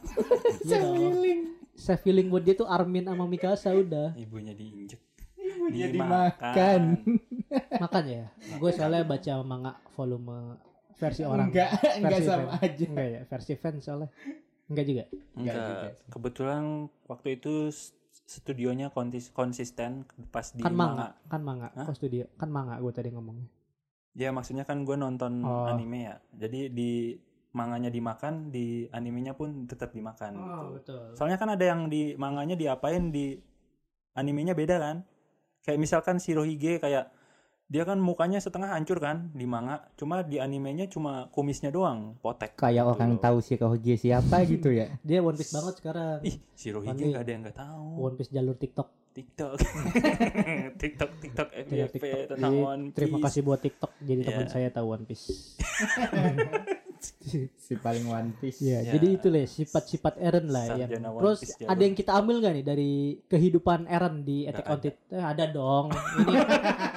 Speaker 2: Iya dong. saya feeling buat dia tuh Armin sama Mikasa udah
Speaker 3: ibunya diinjek
Speaker 6: Ibunya
Speaker 3: Dimakan.
Speaker 6: dimakan.
Speaker 2: makan ya gue soalnya baca manga volume versi orang
Speaker 6: Enggak, enggak
Speaker 2: Versi
Speaker 6: sama
Speaker 2: fan.
Speaker 6: aja.
Speaker 2: enggak ya versi fans soalnya enggak juga
Speaker 6: Nggak juga
Speaker 3: Enggak. Kebetulan waktu itu s- studionya kontis- konsisten pas di
Speaker 2: kan manga
Speaker 3: manga.
Speaker 2: kan manga
Speaker 3: Hah?
Speaker 2: kok studio kan manga gue tadi ngomongnya
Speaker 3: Ya maksudnya kan gue nonton
Speaker 2: Oh.
Speaker 3: anime ya. Jadi di manganya dimakan, di animenya pun tetap dimakan. gitu.
Speaker 2: betul
Speaker 3: Soalnya kan ada yang di manganya diapain di animenya beda kan. Kayak misalkan Shirohige kayak dia kan mukanya setengah hancur kan di manga, cuma di animenya cuma kumisnya doang potek.
Speaker 4: Kayak
Speaker 3: Gitu
Speaker 4: orang
Speaker 3: loh.
Speaker 4: tahu si Kohoge siapa gitu ya.
Speaker 2: dia One Piece banget sekarang
Speaker 3: Ih, Shirohige
Speaker 2: Tapi-
Speaker 3: nggak ada yang nggak tahu.
Speaker 2: One Piece jalur TikTok
Speaker 3: TikTok. TikTok TikTok
Speaker 2: jalur TikTok
Speaker 3: FYP Iya, tentang
Speaker 2: Jadi,
Speaker 3: One Piece.
Speaker 2: terima kasih buat TikTok jadi teman
Speaker 3: Iya.
Speaker 2: saya tahu One Piece
Speaker 4: Si paling one piece.
Speaker 2: Iya,
Speaker 3: Ya.
Speaker 2: jadi itu lah sifat-sifat Eren lah yang
Speaker 3: Sarjana One
Speaker 2: terus
Speaker 3: Piece
Speaker 2: ada
Speaker 3: jalur.
Speaker 2: yang kita ambil nggak nih dari kehidupan Eren di Attack
Speaker 3: Nggak
Speaker 2: on Titan? Eh, ada dong. Ini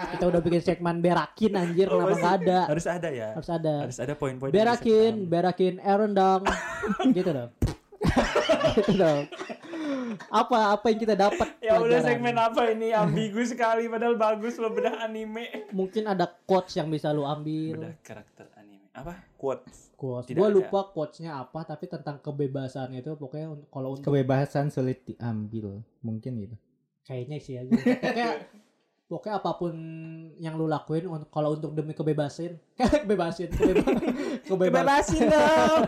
Speaker 2: kita udah bikin segmen berakin anjir,
Speaker 3: Oh,
Speaker 2: kenapa
Speaker 3: pasti.
Speaker 2: nggak ada?
Speaker 3: Harus ada ya.
Speaker 2: Harus ada.
Speaker 3: Harus ada poin-poin. yang bisa
Speaker 2: berakin,
Speaker 3: kita ambil.
Speaker 2: berakin Eren dong. gitu dong. gitu dong. Apa apa yang kita dapat?
Speaker 3: Ya udah
Speaker 2: pelajaran?
Speaker 3: segmen apa ini ambigu sekali padahal bagus lo bedah anime.
Speaker 2: Mungkin ada quotes yang bisa lu ambil.
Speaker 3: Bedah karakter anime. Apa? Quotes.
Speaker 2: Quotes.
Speaker 3: Tidak
Speaker 2: Gua
Speaker 3: ada.
Speaker 2: lupa quotesnya apa, tapi tentang kebebasan itu pokoknya un- kalau untuk
Speaker 4: Kebebasan sulit diambil, mungkin gitu.
Speaker 2: kayaknya sih ya gua. pokoknya pokoknya apapun yang lu lakuin un- kalau untuk demi kebebasin kebebasin kebeba, kebebasan
Speaker 3: Kebebasin dong.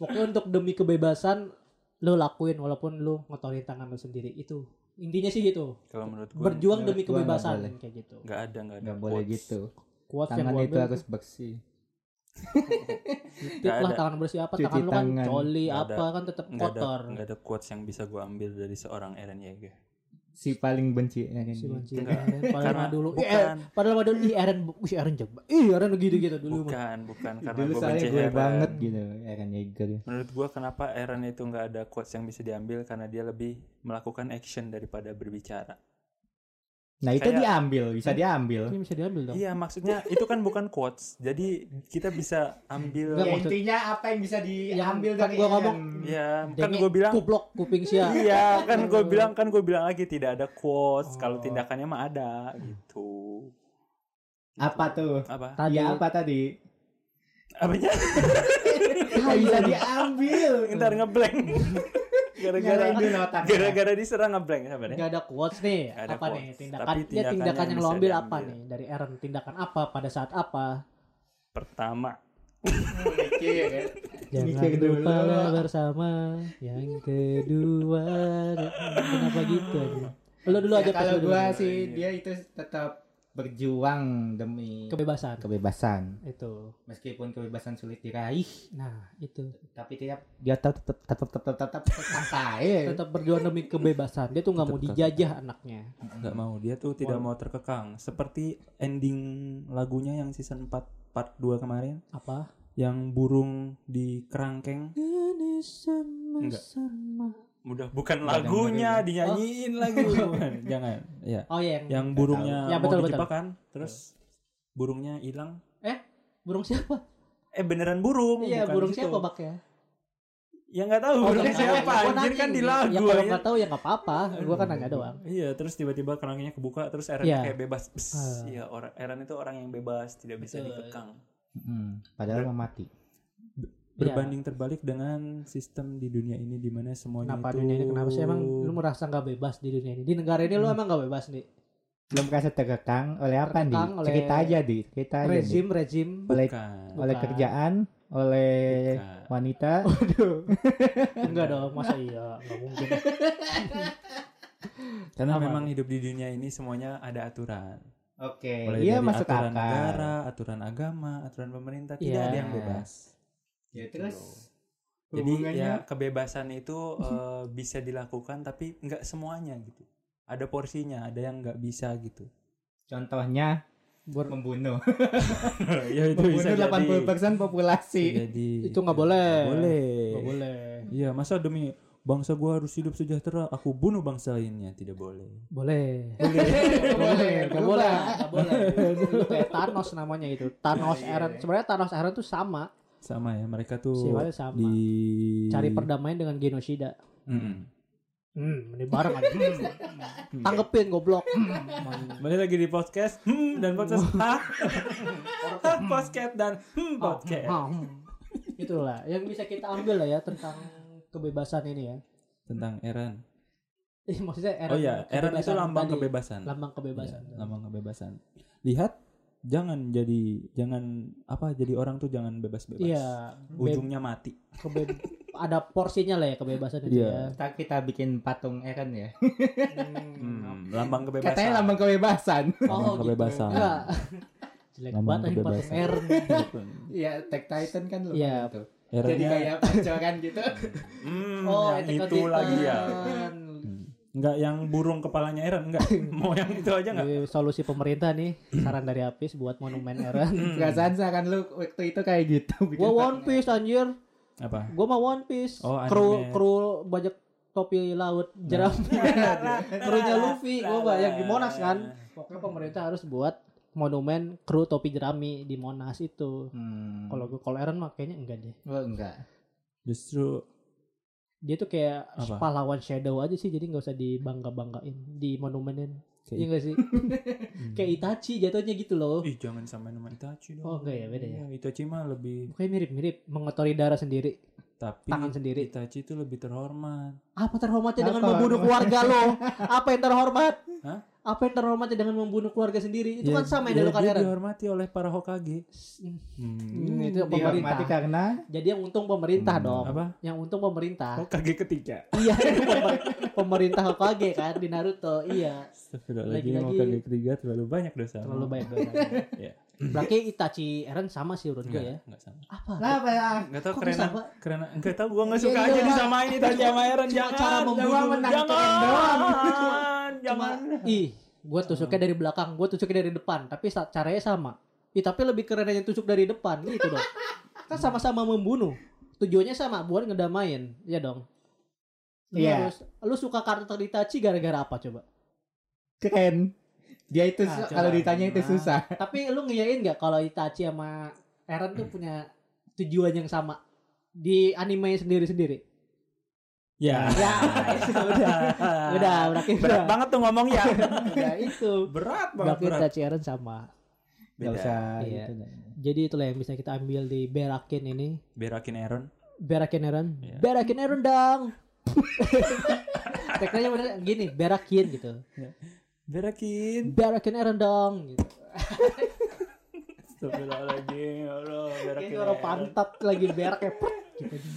Speaker 2: pokoknya untuk demi kebebasan lu lakuin walaupun lu ngotorin tangan lu sendiri itu intinya sih gitu
Speaker 3: Kalau menurut gue
Speaker 2: berjuang
Speaker 4: menurut
Speaker 2: demi
Speaker 4: gua nggak boleh.
Speaker 2: kebebasan kayak gitu
Speaker 3: nggak ada nggak ada.
Speaker 4: Nggak boleh
Speaker 3: quotes.
Speaker 4: gitu.
Speaker 2: kuat yang
Speaker 4: Tangan
Speaker 2: gua
Speaker 4: itu
Speaker 2: ambil
Speaker 4: harus bersih.
Speaker 2: titik
Speaker 3: nggak
Speaker 2: lah
Speaker 3: ada.
Speaker 2: tangan bersih apa
Speaker 4: Cuci
Speaker 2: tangan lu kan
Speaker 4: tangan.
Speaker 2: coli
Speaker 3: Nggak ada.
Speaker 2: apa kan tetap
Speaker 3: Nggak ada
Speaker 2: kotor
Speaker 3: nggak ada quotes yang bisa gue ambil dari seorang Eren Yeager.
Speaker 4: Si paling benci ya kan? Eren.
Speaker 2: si Banci padahal
Speaker 3: Nggak. Karena
Speaker 2: mah dulu ih, eh,
Speaker 3: bukan
Speaker 2: padahal mah dulu ih Aaron ih Aaron coba ih Aaron gitu gitu dulu mah.
Speaker 3: bukan bukan karena
Speaker 4: Dulu
Speaker 3: gue
Speaker 4: soalnya
Speaker 3: benci
Speaker 4: gue
Speaker 3: Eren.
Speaker 4: banget gitu Eren Yeager.
Speaker 3: Menurut gua kenapa Eren itu nggak ada quotes yang bisa diambil karena dia lebih melakukan action daripada berbicara.
Speaker 4: Nah itu
Speaker 3: Kayak-
Speaker 4: diambil, bisa diambil.
Speaker 2: ini bisa diambil dong
Speaker 3: Iya maksudnya itu kan bukan quotes, jadi kita bisa
Speaker 2: Nggak,
Speaker 3: ambil.
Speaker 6: Ya,
Speaker 2: maksud-
Speaker 6: intinya apa yang bisa diambil
Speaker 2: Yang
Speaker 6: dari
Speaker 2: kan gua ngomong,
Speaker 6: Ian.
Speaker 3: Iya kan
Speaker 2: Dengek,
Speaker 3: gue bilang.
Speaker 2: kuplok kuping sia
Speaker 3: Iya kan gue bilang kan gue bilang lagi tidak ada
Speaker 2: Oh.
Speaker 3: quotes kalau tindakannya mah ada gitu.
Speaker 6: apa tuh?
Speaker 3: Apa?
Speaker 2: tadi
Speaker 6: Ya apa tadi?
Speaker 2: Iya,
Speaker 3: Apanya? iya.
Speaker 6: Yang bisa diambil.
Speaker 3: Ntar ngeblank. gara-gara
Speaker 6: Nyalain dulu otaknya.
Speaker 4: Iya,
Speaker 3: gara-gara diserang ngeblank sabar ya.
Speaker 2: nggak ada quotes nih
Speaker 3: Nggak ada
Speaker 2: apa nih
Speaker 3: quotes.
Speaker 2: tindakan
Speaker 3: Tapi
Speaker 2: ya, tindakan,
Speaker 3: tindakan yang
Speaker 2: yang lo
Speaker 3: bisa
Speaker 2: ambil apa
Speaker 3: diambil.
Speaker 2: nih dari Aaron tindakan apa pada saat apa
Speaker 3: Pertama
Speaker 4: kan?
Speaker 6: Mikir.
Speaker 2: jangan
Speaker 6: Mikir dulu.
Speaker 2: lupa lah bersama yang kedua kenapa gitu aja? lo dulu
Speaker 6: Ya,
Speaker 2: aja pas
Speaker 6: kalau
Speaker 2: lu dulu.
Speaker 6: gua sih dia itu tetap
Speaker 4: berjuang demi
Speaker 2: kebebasan
Speaker 4: kebebasan.
Speaker 2: itu
Speaker 4: Meskipun kebebasan sulit diraih,
Speaker 2: nah itu
Speaker 4: tapi tiap dia tetap tetap tetap tetap tetap tetap
Speaker 2: tetap berjuang demi kebebasan dia tuh nggak mau
Speaker 3: Tetap.
Speaker 2: dijajah anaknya
Speaker 3: nggak mau dia tuh tidak mau terkekang seperti ending lagunya yang season 4 part 2 kemarin
Speaker 2: apa
Speaker 3: yang burung di kerangkeng
Speaker 2: ini sama-sama
Speaker 3: udah bukan
Speaker 4: Bukan
Speaker 3: lagunya
Speaker 4: burung.
Speaker 3: dinyanyiin lagi Oh. Bukan, jangan ya
Speaker 2: oh iya yang
Speaker 3: yang
Speaker 2: tahu.
Speaker 3: burungnya
Speaker 2: Ya,
Speaker 3: mau
Speaker 2: betul, betul.
Speaker 3: dijebak kan terus burungnya hilang
Speaker 2: burung siapa
Speaker 3: eh beneran burung
Speaker 2: iya
Speaker 3: bukan
Speaker 2: burung
Speaker 3: gitu.
Speaker 2: siapa bak ya
Speaker 3: ya nggak tahu
Speaker 2: Oh,
Speaker 3: burung
Speaker 2: nggak tahu.
Speaker 3: siapa
Speaker 2: Gua
Speaker 3: anjir
Speaker 2: nanya
Speaker 3: kan di
Speaker 2: ini.
Speaker 3: lagu
Speaker 2: ya kalau
Speaker 3: anjir.
Speaker 2: nggak tahu ya nggak apa-apa gua kan nanya doang
Speaker 3: Iya, terus tiba-tiba kerangkanya kebuka, terus Eren
Speaker 2: Iya.
Speaker 3: kayak bebas. Bes.
Speaker 2: Ah.
Speaker 3: Iya, orang Eren itu orang yang bebas, tidak bisa
Speaker 2: Betul.
Speaker 3: dikekang. Iya.
Speaker 4: Padahal mau mati.
Speaker 2: Iya.
Speaker 3: Berbanding terbalik dengan sistem di dunia ini di mana semuanya
Speaker 2: Kenapa
Speaker 3: itu
Speaker 2: dunia ini kenapa sih emang lu merasa nggak bebas di dunia ini? Di negara ini lu emang nggak bebas nih.
Speaker 4: Belum merasa terkekang oleh apa nih?
Speaker 2: Terkekang oleh
Speaker 4: Cerita aja di cerita aja Di.
Speaker 2: Rezim rezim.
Speaker 4: Oleh
Speaker 3: Bukan.
Speaker 4: oleh
Speaker 2: Bukan.
Speaker 4: kerjaan, oleh
Speaker 3: Bukan.
Speaker 4: wanita.
Speaker 2: Waduh. Enggak dong, masa iya nggak mungkin.
Speaker 3: Karena
Speaker 2: Apa?
Speaker 3: memang hidup di dunia ini semuanya ada aturan.
Speaker 4: Oke,
Speaker 3: Mulai
Speaker 4: iya
Speaker 3: dari
Speaker 4: masuk
Speaker 3: aturan
Speaker 4: akal.
Speaker 3: negara, aturan agama, aturan pemerintah, tidak
Speaker 2: Iya.
Speaker 3: ada yang bebas.
Speaker 4: Ya,
Speaker 3: Gitu
Speaker 4: terus
Speaker 3: loh. Jadi ya kebebasan itu eh, bisa dilakukan tapi nggak semuanya gitu. Ada porsinya, ada yang nggak bisa gitu.
Speaker 4: contohnya
Speaker 2: Bur-
Speaker 4: membunuh.
Speaker 3: ya itu bisa jadi.
Speaker 4: membunuh
Speaker 3: Iya.
Speaker 4: 80% populasi.
Speaker 3: Bisa jadi. ya,
Speaker 2: Itu nggak boleh.
Speaker 3: Nggak boleh.
Speaker 2: Nggak boleh.
Speaker 3: Iya, masa demi bangsa gua harus hidup sejahtera, aku bunuh bangsa lainnya, tidak boleh.
Speaker 2: Boleh.
Speaker 4: Nggak boleh,
Speaker 2: Nggak boleh. Nggak boleh. Lu kayak Thanos namanya itu. Thanos
Speaker 4: Iya, iya,
Speaker 2: Eren.
Speaker 4: iya.
Speaker 2: Sebenarnya Thanos Eren tuh sama.
Speaker 3: Sama ya, mereka tuh
Speaker 2: Sifatnya sama.
Speaker 3: di
Speaker 2: Cari
Speaker 3: Iya.
Speaker 2: perdamaian dengan genosida.
Speaker 3: Mm-mm.
Speaker 2: Hmm, ini bareng aja. Tanggepin goblok.
Speaker 3: Kembali lagi di podcast hmm, dan podcast hah Hah, podcast dan hmm, podcast
Speaker 2: Ah, hmm. Itulah yang bisa kita ambil lah ya tentang kebebasan ini ya.
Speaker 3: tentang Eren.
Speaker 2: Ih, maksudnya Eren.
Speaker 3: Oh iya, Eren itu
Speaker 2: kebebasan
Speaker 3: lambang
Speaker 2: tadi.
Speaker 3: kebebasan.
Speaker 2: Lambang kebebasan.
Speaker 3: Iya, lambang kebebasan. Lihat, jangan jadi jangan apa jadi orang tuh jangan bebas-bebas.
Speaker 2: Iya, be-
Speaker 3: Ujungnya mati.
Speaker 2: kebe- ada porsinya lah ya kebebasan itu
Speaker 3: Iya.
Speaker 2: ya.
Speaker 4: Ntar kita bikin patung Eren ya.
Speaker 3: Hmm, lambang kebebasan.
Speaker 4: Katanya lambang kebebasan.
Speaker 3: Lambang
Speaker 2: gitu.
Speaker 3: kebebasan.
Speaker 2: Enggak. Jelek
Speaker 3: Lambang
Speaker 2: banget ini patung
Speaker 3: kebebasan.
Speaker 2: Eren.
Speaker 4: Iya, Tech Titan kan lu
Speaker 2: Iya.
Speaker 4: gitu.
Speaker 3: Erennya-
Speaker 4: Jadi kayak pancoran gitu. Kan
Speaker 3: Hmm,
Speaker 2: Oh,
Speaker 3: yang
Speaker 2: Attack on
Speaker 3: itu lagi ya.
Speaker 2: Titan.
Speaker 3: Enggak yang burung kepalanya Eren enggak. Mau yang itu aja enggak?
Speaker 2: Ini solusi pemerintah nih, saran dari Apis buat monumen
Speaker 3: Hmm.
Speaker 2: Eren.
Speaker 4: Perasaan seakan lu waktu itu kayak gitu.
Speaker 2: Hmm.
Speaker 4: bikin
Speaker 2: Gua
Speaker 4: patung
Speaker 2: One Piece anjir.
Speaker 3: Apa?
Speaker 2: Gua mah One Piece.
Speaker 3: Oh, anime. Nah.
Speaker 2: kru kru banyak topi laut jerami. Krunya Luffy. Gua mah yang di Monas kan. Pokoknya pemerintah harus buat monumen kru topi jerami di Monas itu.
Speaker 4: Hmm.
Speaker 2: Kalau kalau Eren mah kayaknya enggak deh.
Speaker 4: Oh, enggak.
Speaker 3: Justru
Speaker 2: Dia tuh kayak
Speaker 3: Apa?
Speaker 2: pahlawan shadow aja sih, jadi nggak usah dibangga-banggain, di monumenin.
Speaker 3: Kayak-
Speaker 2: Iya nggak sih? kayak Itachi jatuhnya gitu loh.
Speaker 3: ih jangan sama nama Itachi dong.
Speaker 2: Oh, enggak ya, beda ya.
Speaker 3: Iya, Itachi mah lebih
Speaker 2: Mukanya mirip-mirip, mengotori darah sendiri,
Speaker 3: tapi
Speaker 2: tangan sendiri.
Speaker 3: Itachi itu lebih terhormat.
Speaker 2: Apa terhormatnya dengan
Speaker 4: Apa?
Speaker 2: membunuh keluarga lo? Apa yang terhormat?
Speaker 3: Hah?
Speaker 2: Apa yang terhormatnya dengan membunuh keluarga sendiri? Itu kan
Speaker 3: Ya,
Speaker 2: sama
Speaker 3: ya,
Speaker 2: yang dilakukan
Speaker 3: dia
Speaker 2: Eren.
Speaker 3: dihormati oleh para Hokage.
Speaker 2: Hmm, itu
Speaker 4: Dihormati
Speaker 2: pemerintah.
Speaker 4: karena
Speaker 2: Jadi yang untung pemerintah
Speaker 3: Hmm, Oh.
Speaker 2: dong.
Speaker 3: Apa?
Speaker 2: Yang untung pemerintah.
Speaker 3: Hokage ketiga.
Speaker 2: Iya, itu pemer- pemerintah Hokage kan di Naruto. Iya,
Speaker 3: Lagi-lagi
Speaker 2: Lagi-lagi-
Speaker 3: Hokage ketiga terlalu banyak dosa.
Speaker 2: terlalu banyak dosa.
Speaker 3: Iya.
Speaker 2: Berarti Itachi Eren sama sih menurut gue
Speaker 3: Enggak,
Speaker 2: ya.
Speaker 3: enggak sama.
Speaker 2: Apa?
Speaker 4: lah apa ya?
Speaker 3: Enggak tahu
Speaker 2: Kok
Speaker 3: keren.
Speaker 2: bisa, Pak?
Speaker 3: Keren. Enggak tahu gua enggak suka
Speaker 4: Iya,
Speaker 3: aja
Speaker 4: iya.
Speaker 3: disamain Itachi sama Eren.
Speaker 4: Cuma
Speaker 3: Jangan.
Speaker 4: cara membunuh menang keren doang.
Speaker 3: Jangan.
Speaker 2: Cuma
Speaker 3: Jangan.
Speaker 2: ih, gue tusuknya dari belakang, gue tusuknya dari depan, tapi sa- caranya sama. Ih, tapi lebih keren yang tusuk dari depan gitu dong. Kan sama-sama membunuh. Tujuannya sama, buat ngedamain, ya dong. Lu,
Speaker 4: Iya.
Speaker 2: harus- lu suka karakter Itachi gara-gara apa coba?
Speaker 4: Keren. Dia itu
Speaker 2: Ah,
Speaker 4: su-
Speaker 2: coba
Speaker 4: kalau ditanya itu
Speaker 3: gimana?
Speaker 4: susah.
Speaker 2: Tapi lu ngiyain nggak kalau Itachi sama Eren tuh punya tujuan yang sama di anime sendiri-sendiri?
Speaker 3: Ya.
Speaker 2: Ya, udah, udah, berarti
Speaker 3: Berat
Speaker 2: udah.
Speaker 3: banget tuh ngomong ya.
Speaker 2: Udah itu.
Speaker 3: berat banget
Speaker 2: Berarti
Speaker 3: berat.
Speaker 2: Itachi Eren sama.
Speaker 4: Gak
Speaker 3: Beda.
Speaker 4: usah
Speaker 2: Iya.
Speaker 4: gitu.
Speaker 2: Jadi itulah yang bisa kita ambil di Berakin ini.
Speaker 3: Berakin Aaron.
Speaker 2: Berakin Eren.
Speaker 3: Iya.
Speaker 2: Berakin Eren dong. Tekniknya bener gini, berakin gitu.
Speaker 3: Berakin.
Speaker 2: Berakin Aaron dong gitu.
Speaker 3: Astagfirullahaladzim. Ya Allah,
Speaker 2: Kayak
Speaker 3: berakin Iya,
Speaker 2: suara
Speaker 3: Aaron.
Speaker 2: pantat lagi berak ya. prek, gitu.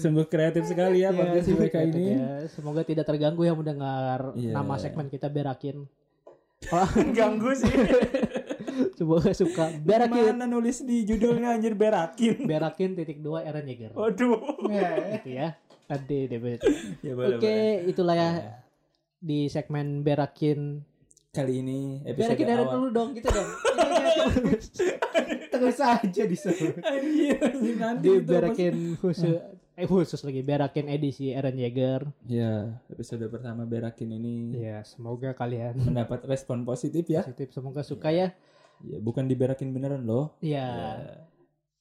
Speaker 3: Sungguh kreatif sekali ya podcast
Speaker 2: Ya,
Speaker 3: mereka ini.
Speaker 2: ya. Semoga tidak terganggu yang mendengar
Speaker 3: Iya.
Speaker 2: nama segmen kita berakin.
Speaker 3: Ganggu sih.
Speaker 2: coba gak suka berakin
Speaker 3: Mana nulis di judulnya anjir berakin.
Speaker 2: berakin titik dua Eren Yeager
Speaker 3: Waduh.
Speaker 2: gitu ya nanti deh Bet.
Speaker 3: Ya
Speaker 2: oke itulah ya di segmen berakin
Speaker 3: Kali ini episode
Speaker 2: berakin Eren
Speaker 3: awal.
Speaker 2: dulu dong gitu dong
Speaker 6: Terus aja disuruh.
Speaker 3: Anjir, anjir, nanti
Speaker 2: di
Speaker 3: itu pas-
Speaker 2: berakin khusus eh khusus lagi berakin edisi Eren Yeager
Speaker 3: Ya, episode pertama berakin ini
Speaker 2: ya semoga kalian
Speaker 3: mendapat respon positif ya.
Speaker 2: positif semoga suka ya
Speaker 3: Ya, bukan diberakin beneran loh.
Speaker 2: ya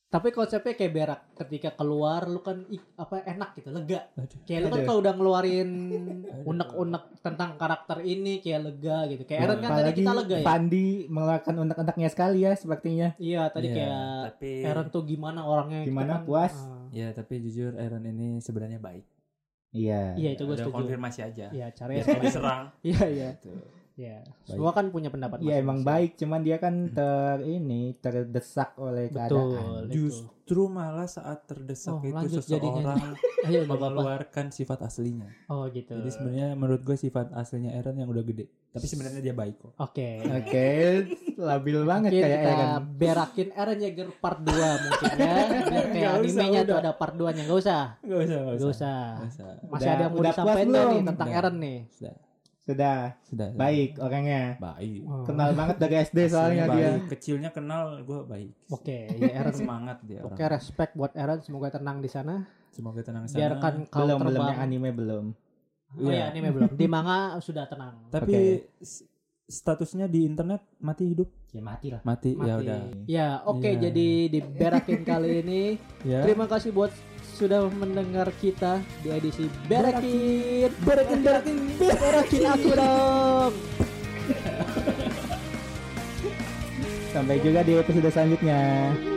Speaker 2: tapi konsepnya kayak berak ketika keluar lu kan ik- apa enak gitu lega
Speaker 3: Aduh.
Speaker 2: kayak lu kan
Speaker 6: Aduh.
Speaker 2: kalau udah ngeluarin unek-unek tentang karakter ini kayak lega gitu kayak Eren kan tadi
Speaker 4: Apalagi
Speaker 2: kita lega ya
Speaker 4: Pandi mengeluarkan unek-uneknya sekali ya sepertinya.
Speaker 2: iya tadi
Speaker 3: Ya,
Speaker 2: kayak
Speaker 3: tapi
Speaker 2: Eren tuh gimana orangnya gitu
Speaker 4: Gimana,
Speaker 2: kan.
Speaker 4: puas?
Speaker 2: Ah.
Speaker 3: Ya, tapi jujur Aaron ini sebenarnya baik.
Speaker 4: Iya.
Speaker 2: iya itu gue
Speaker 3: Udah
Speaker 2: setuju
Speaker 3: konfirmasi aja.
Speaker 2: iya caranya
Speaker 3: Biar nggak diserang.
Speaker 2: iya iya
Speaker 3: Gitu.
Speaker 2: iya semua kan punya pendapat
Speaker 4: Iya emang
Speaker 2: masing-masing.
Speaker 4: baik, cuman dia kan ter ini terdesak oleh
Speaker 2: betul
Speaker 4: keadaan.
Speaker 2: itu.
Speaker 3: Justru malah saat terdesak
Speaker 2: Oh,
Speaker 3: itu
Speaker 2: lanjut jadinya.
Speaker 3: seseorang
Speaker 2: ayo nggak apa-apa
Speaker 3: mengeluarkan sifat aslinya.
Speaker 2: oh gitu
Speaker 3: Jadi sebenarnya menurut gue sifat aslinya Aaron yang udah gede. Tapi sebenarnya dia baik kok.
Speaker 2: oke
Speaker 4: Oke, labil banget
Speaker 2: Mungkin
Speaker 4: kayak
Speaker 2: kita
Speaker 4: Eren.
Speaker 2: berakin Eren Yeager part 2 mungkin ya Biar kayak
Speaker 3: Nggak usah,
Speaker 2: animenya tuh
Speaker 3: udah.
Speaker 2: ada part 2 nya Gak usah
Speaker 3: Gak usah, gak
Speaker 2: Gak usah
Speaker 3: Nggak usah.
Speaker 2: Masih
Speaker 4: Udah-
Speaker 2: ada yang mau
Speaker 4: udah puas
Speaker 2: disampaikan nggak nih
Speaker 4: belum?
Speaker 2: tentang
Speaker 3: Udah.
Speaker 2: Eren nih
Speaker 3: Sudah,
Speaker 4: Sudah
Speaker 3: sudah. sudah.
Speaker 4: baik orangnya.
Speaker 3: Baik.
Speaker 2: Oh.
Speaker 4: Kenal banget dari SD soalnya
Speaker 3: Aslinya
Speaker 4: dia.
Speaker 3: baik. Kecilnya kenal gue baik.
Speaker 2: Oke ya Eren
Speaker 3: Semangat dia
Speaker 2: Oke
Speaker 3: orang.
Speaker 2: respect buat Eren Semoga tenang di sana
Speaker 3: Semoga tenang sana.
Speaker 2: Biarkan kau
Speaker 4: Belum belum yang
Speaker 2: terbang
Speaker 4: anime belum.
Speaker 2: Oh iya anime belum Di manga sudah tenang
Speaker 3: Tapi s- statusnya di internet mati hidup.
Speaker 4: Ya mati lah.
Speaker 3: Mati,
Speaker 2: Mati.
Speaker 3: ya udah.
Speaker 2: Ya oke
Speaker 3: Iya.
Speaker 2: jadi di berakin kali ini
Speaker 3: Ya.
Speaker 2: Terima kasih buat sudah mendengar kita di edisi Berakin Berakin Berakin Berakin, aku dong
Speaker 4: Sampai juga di episode selanjutnya.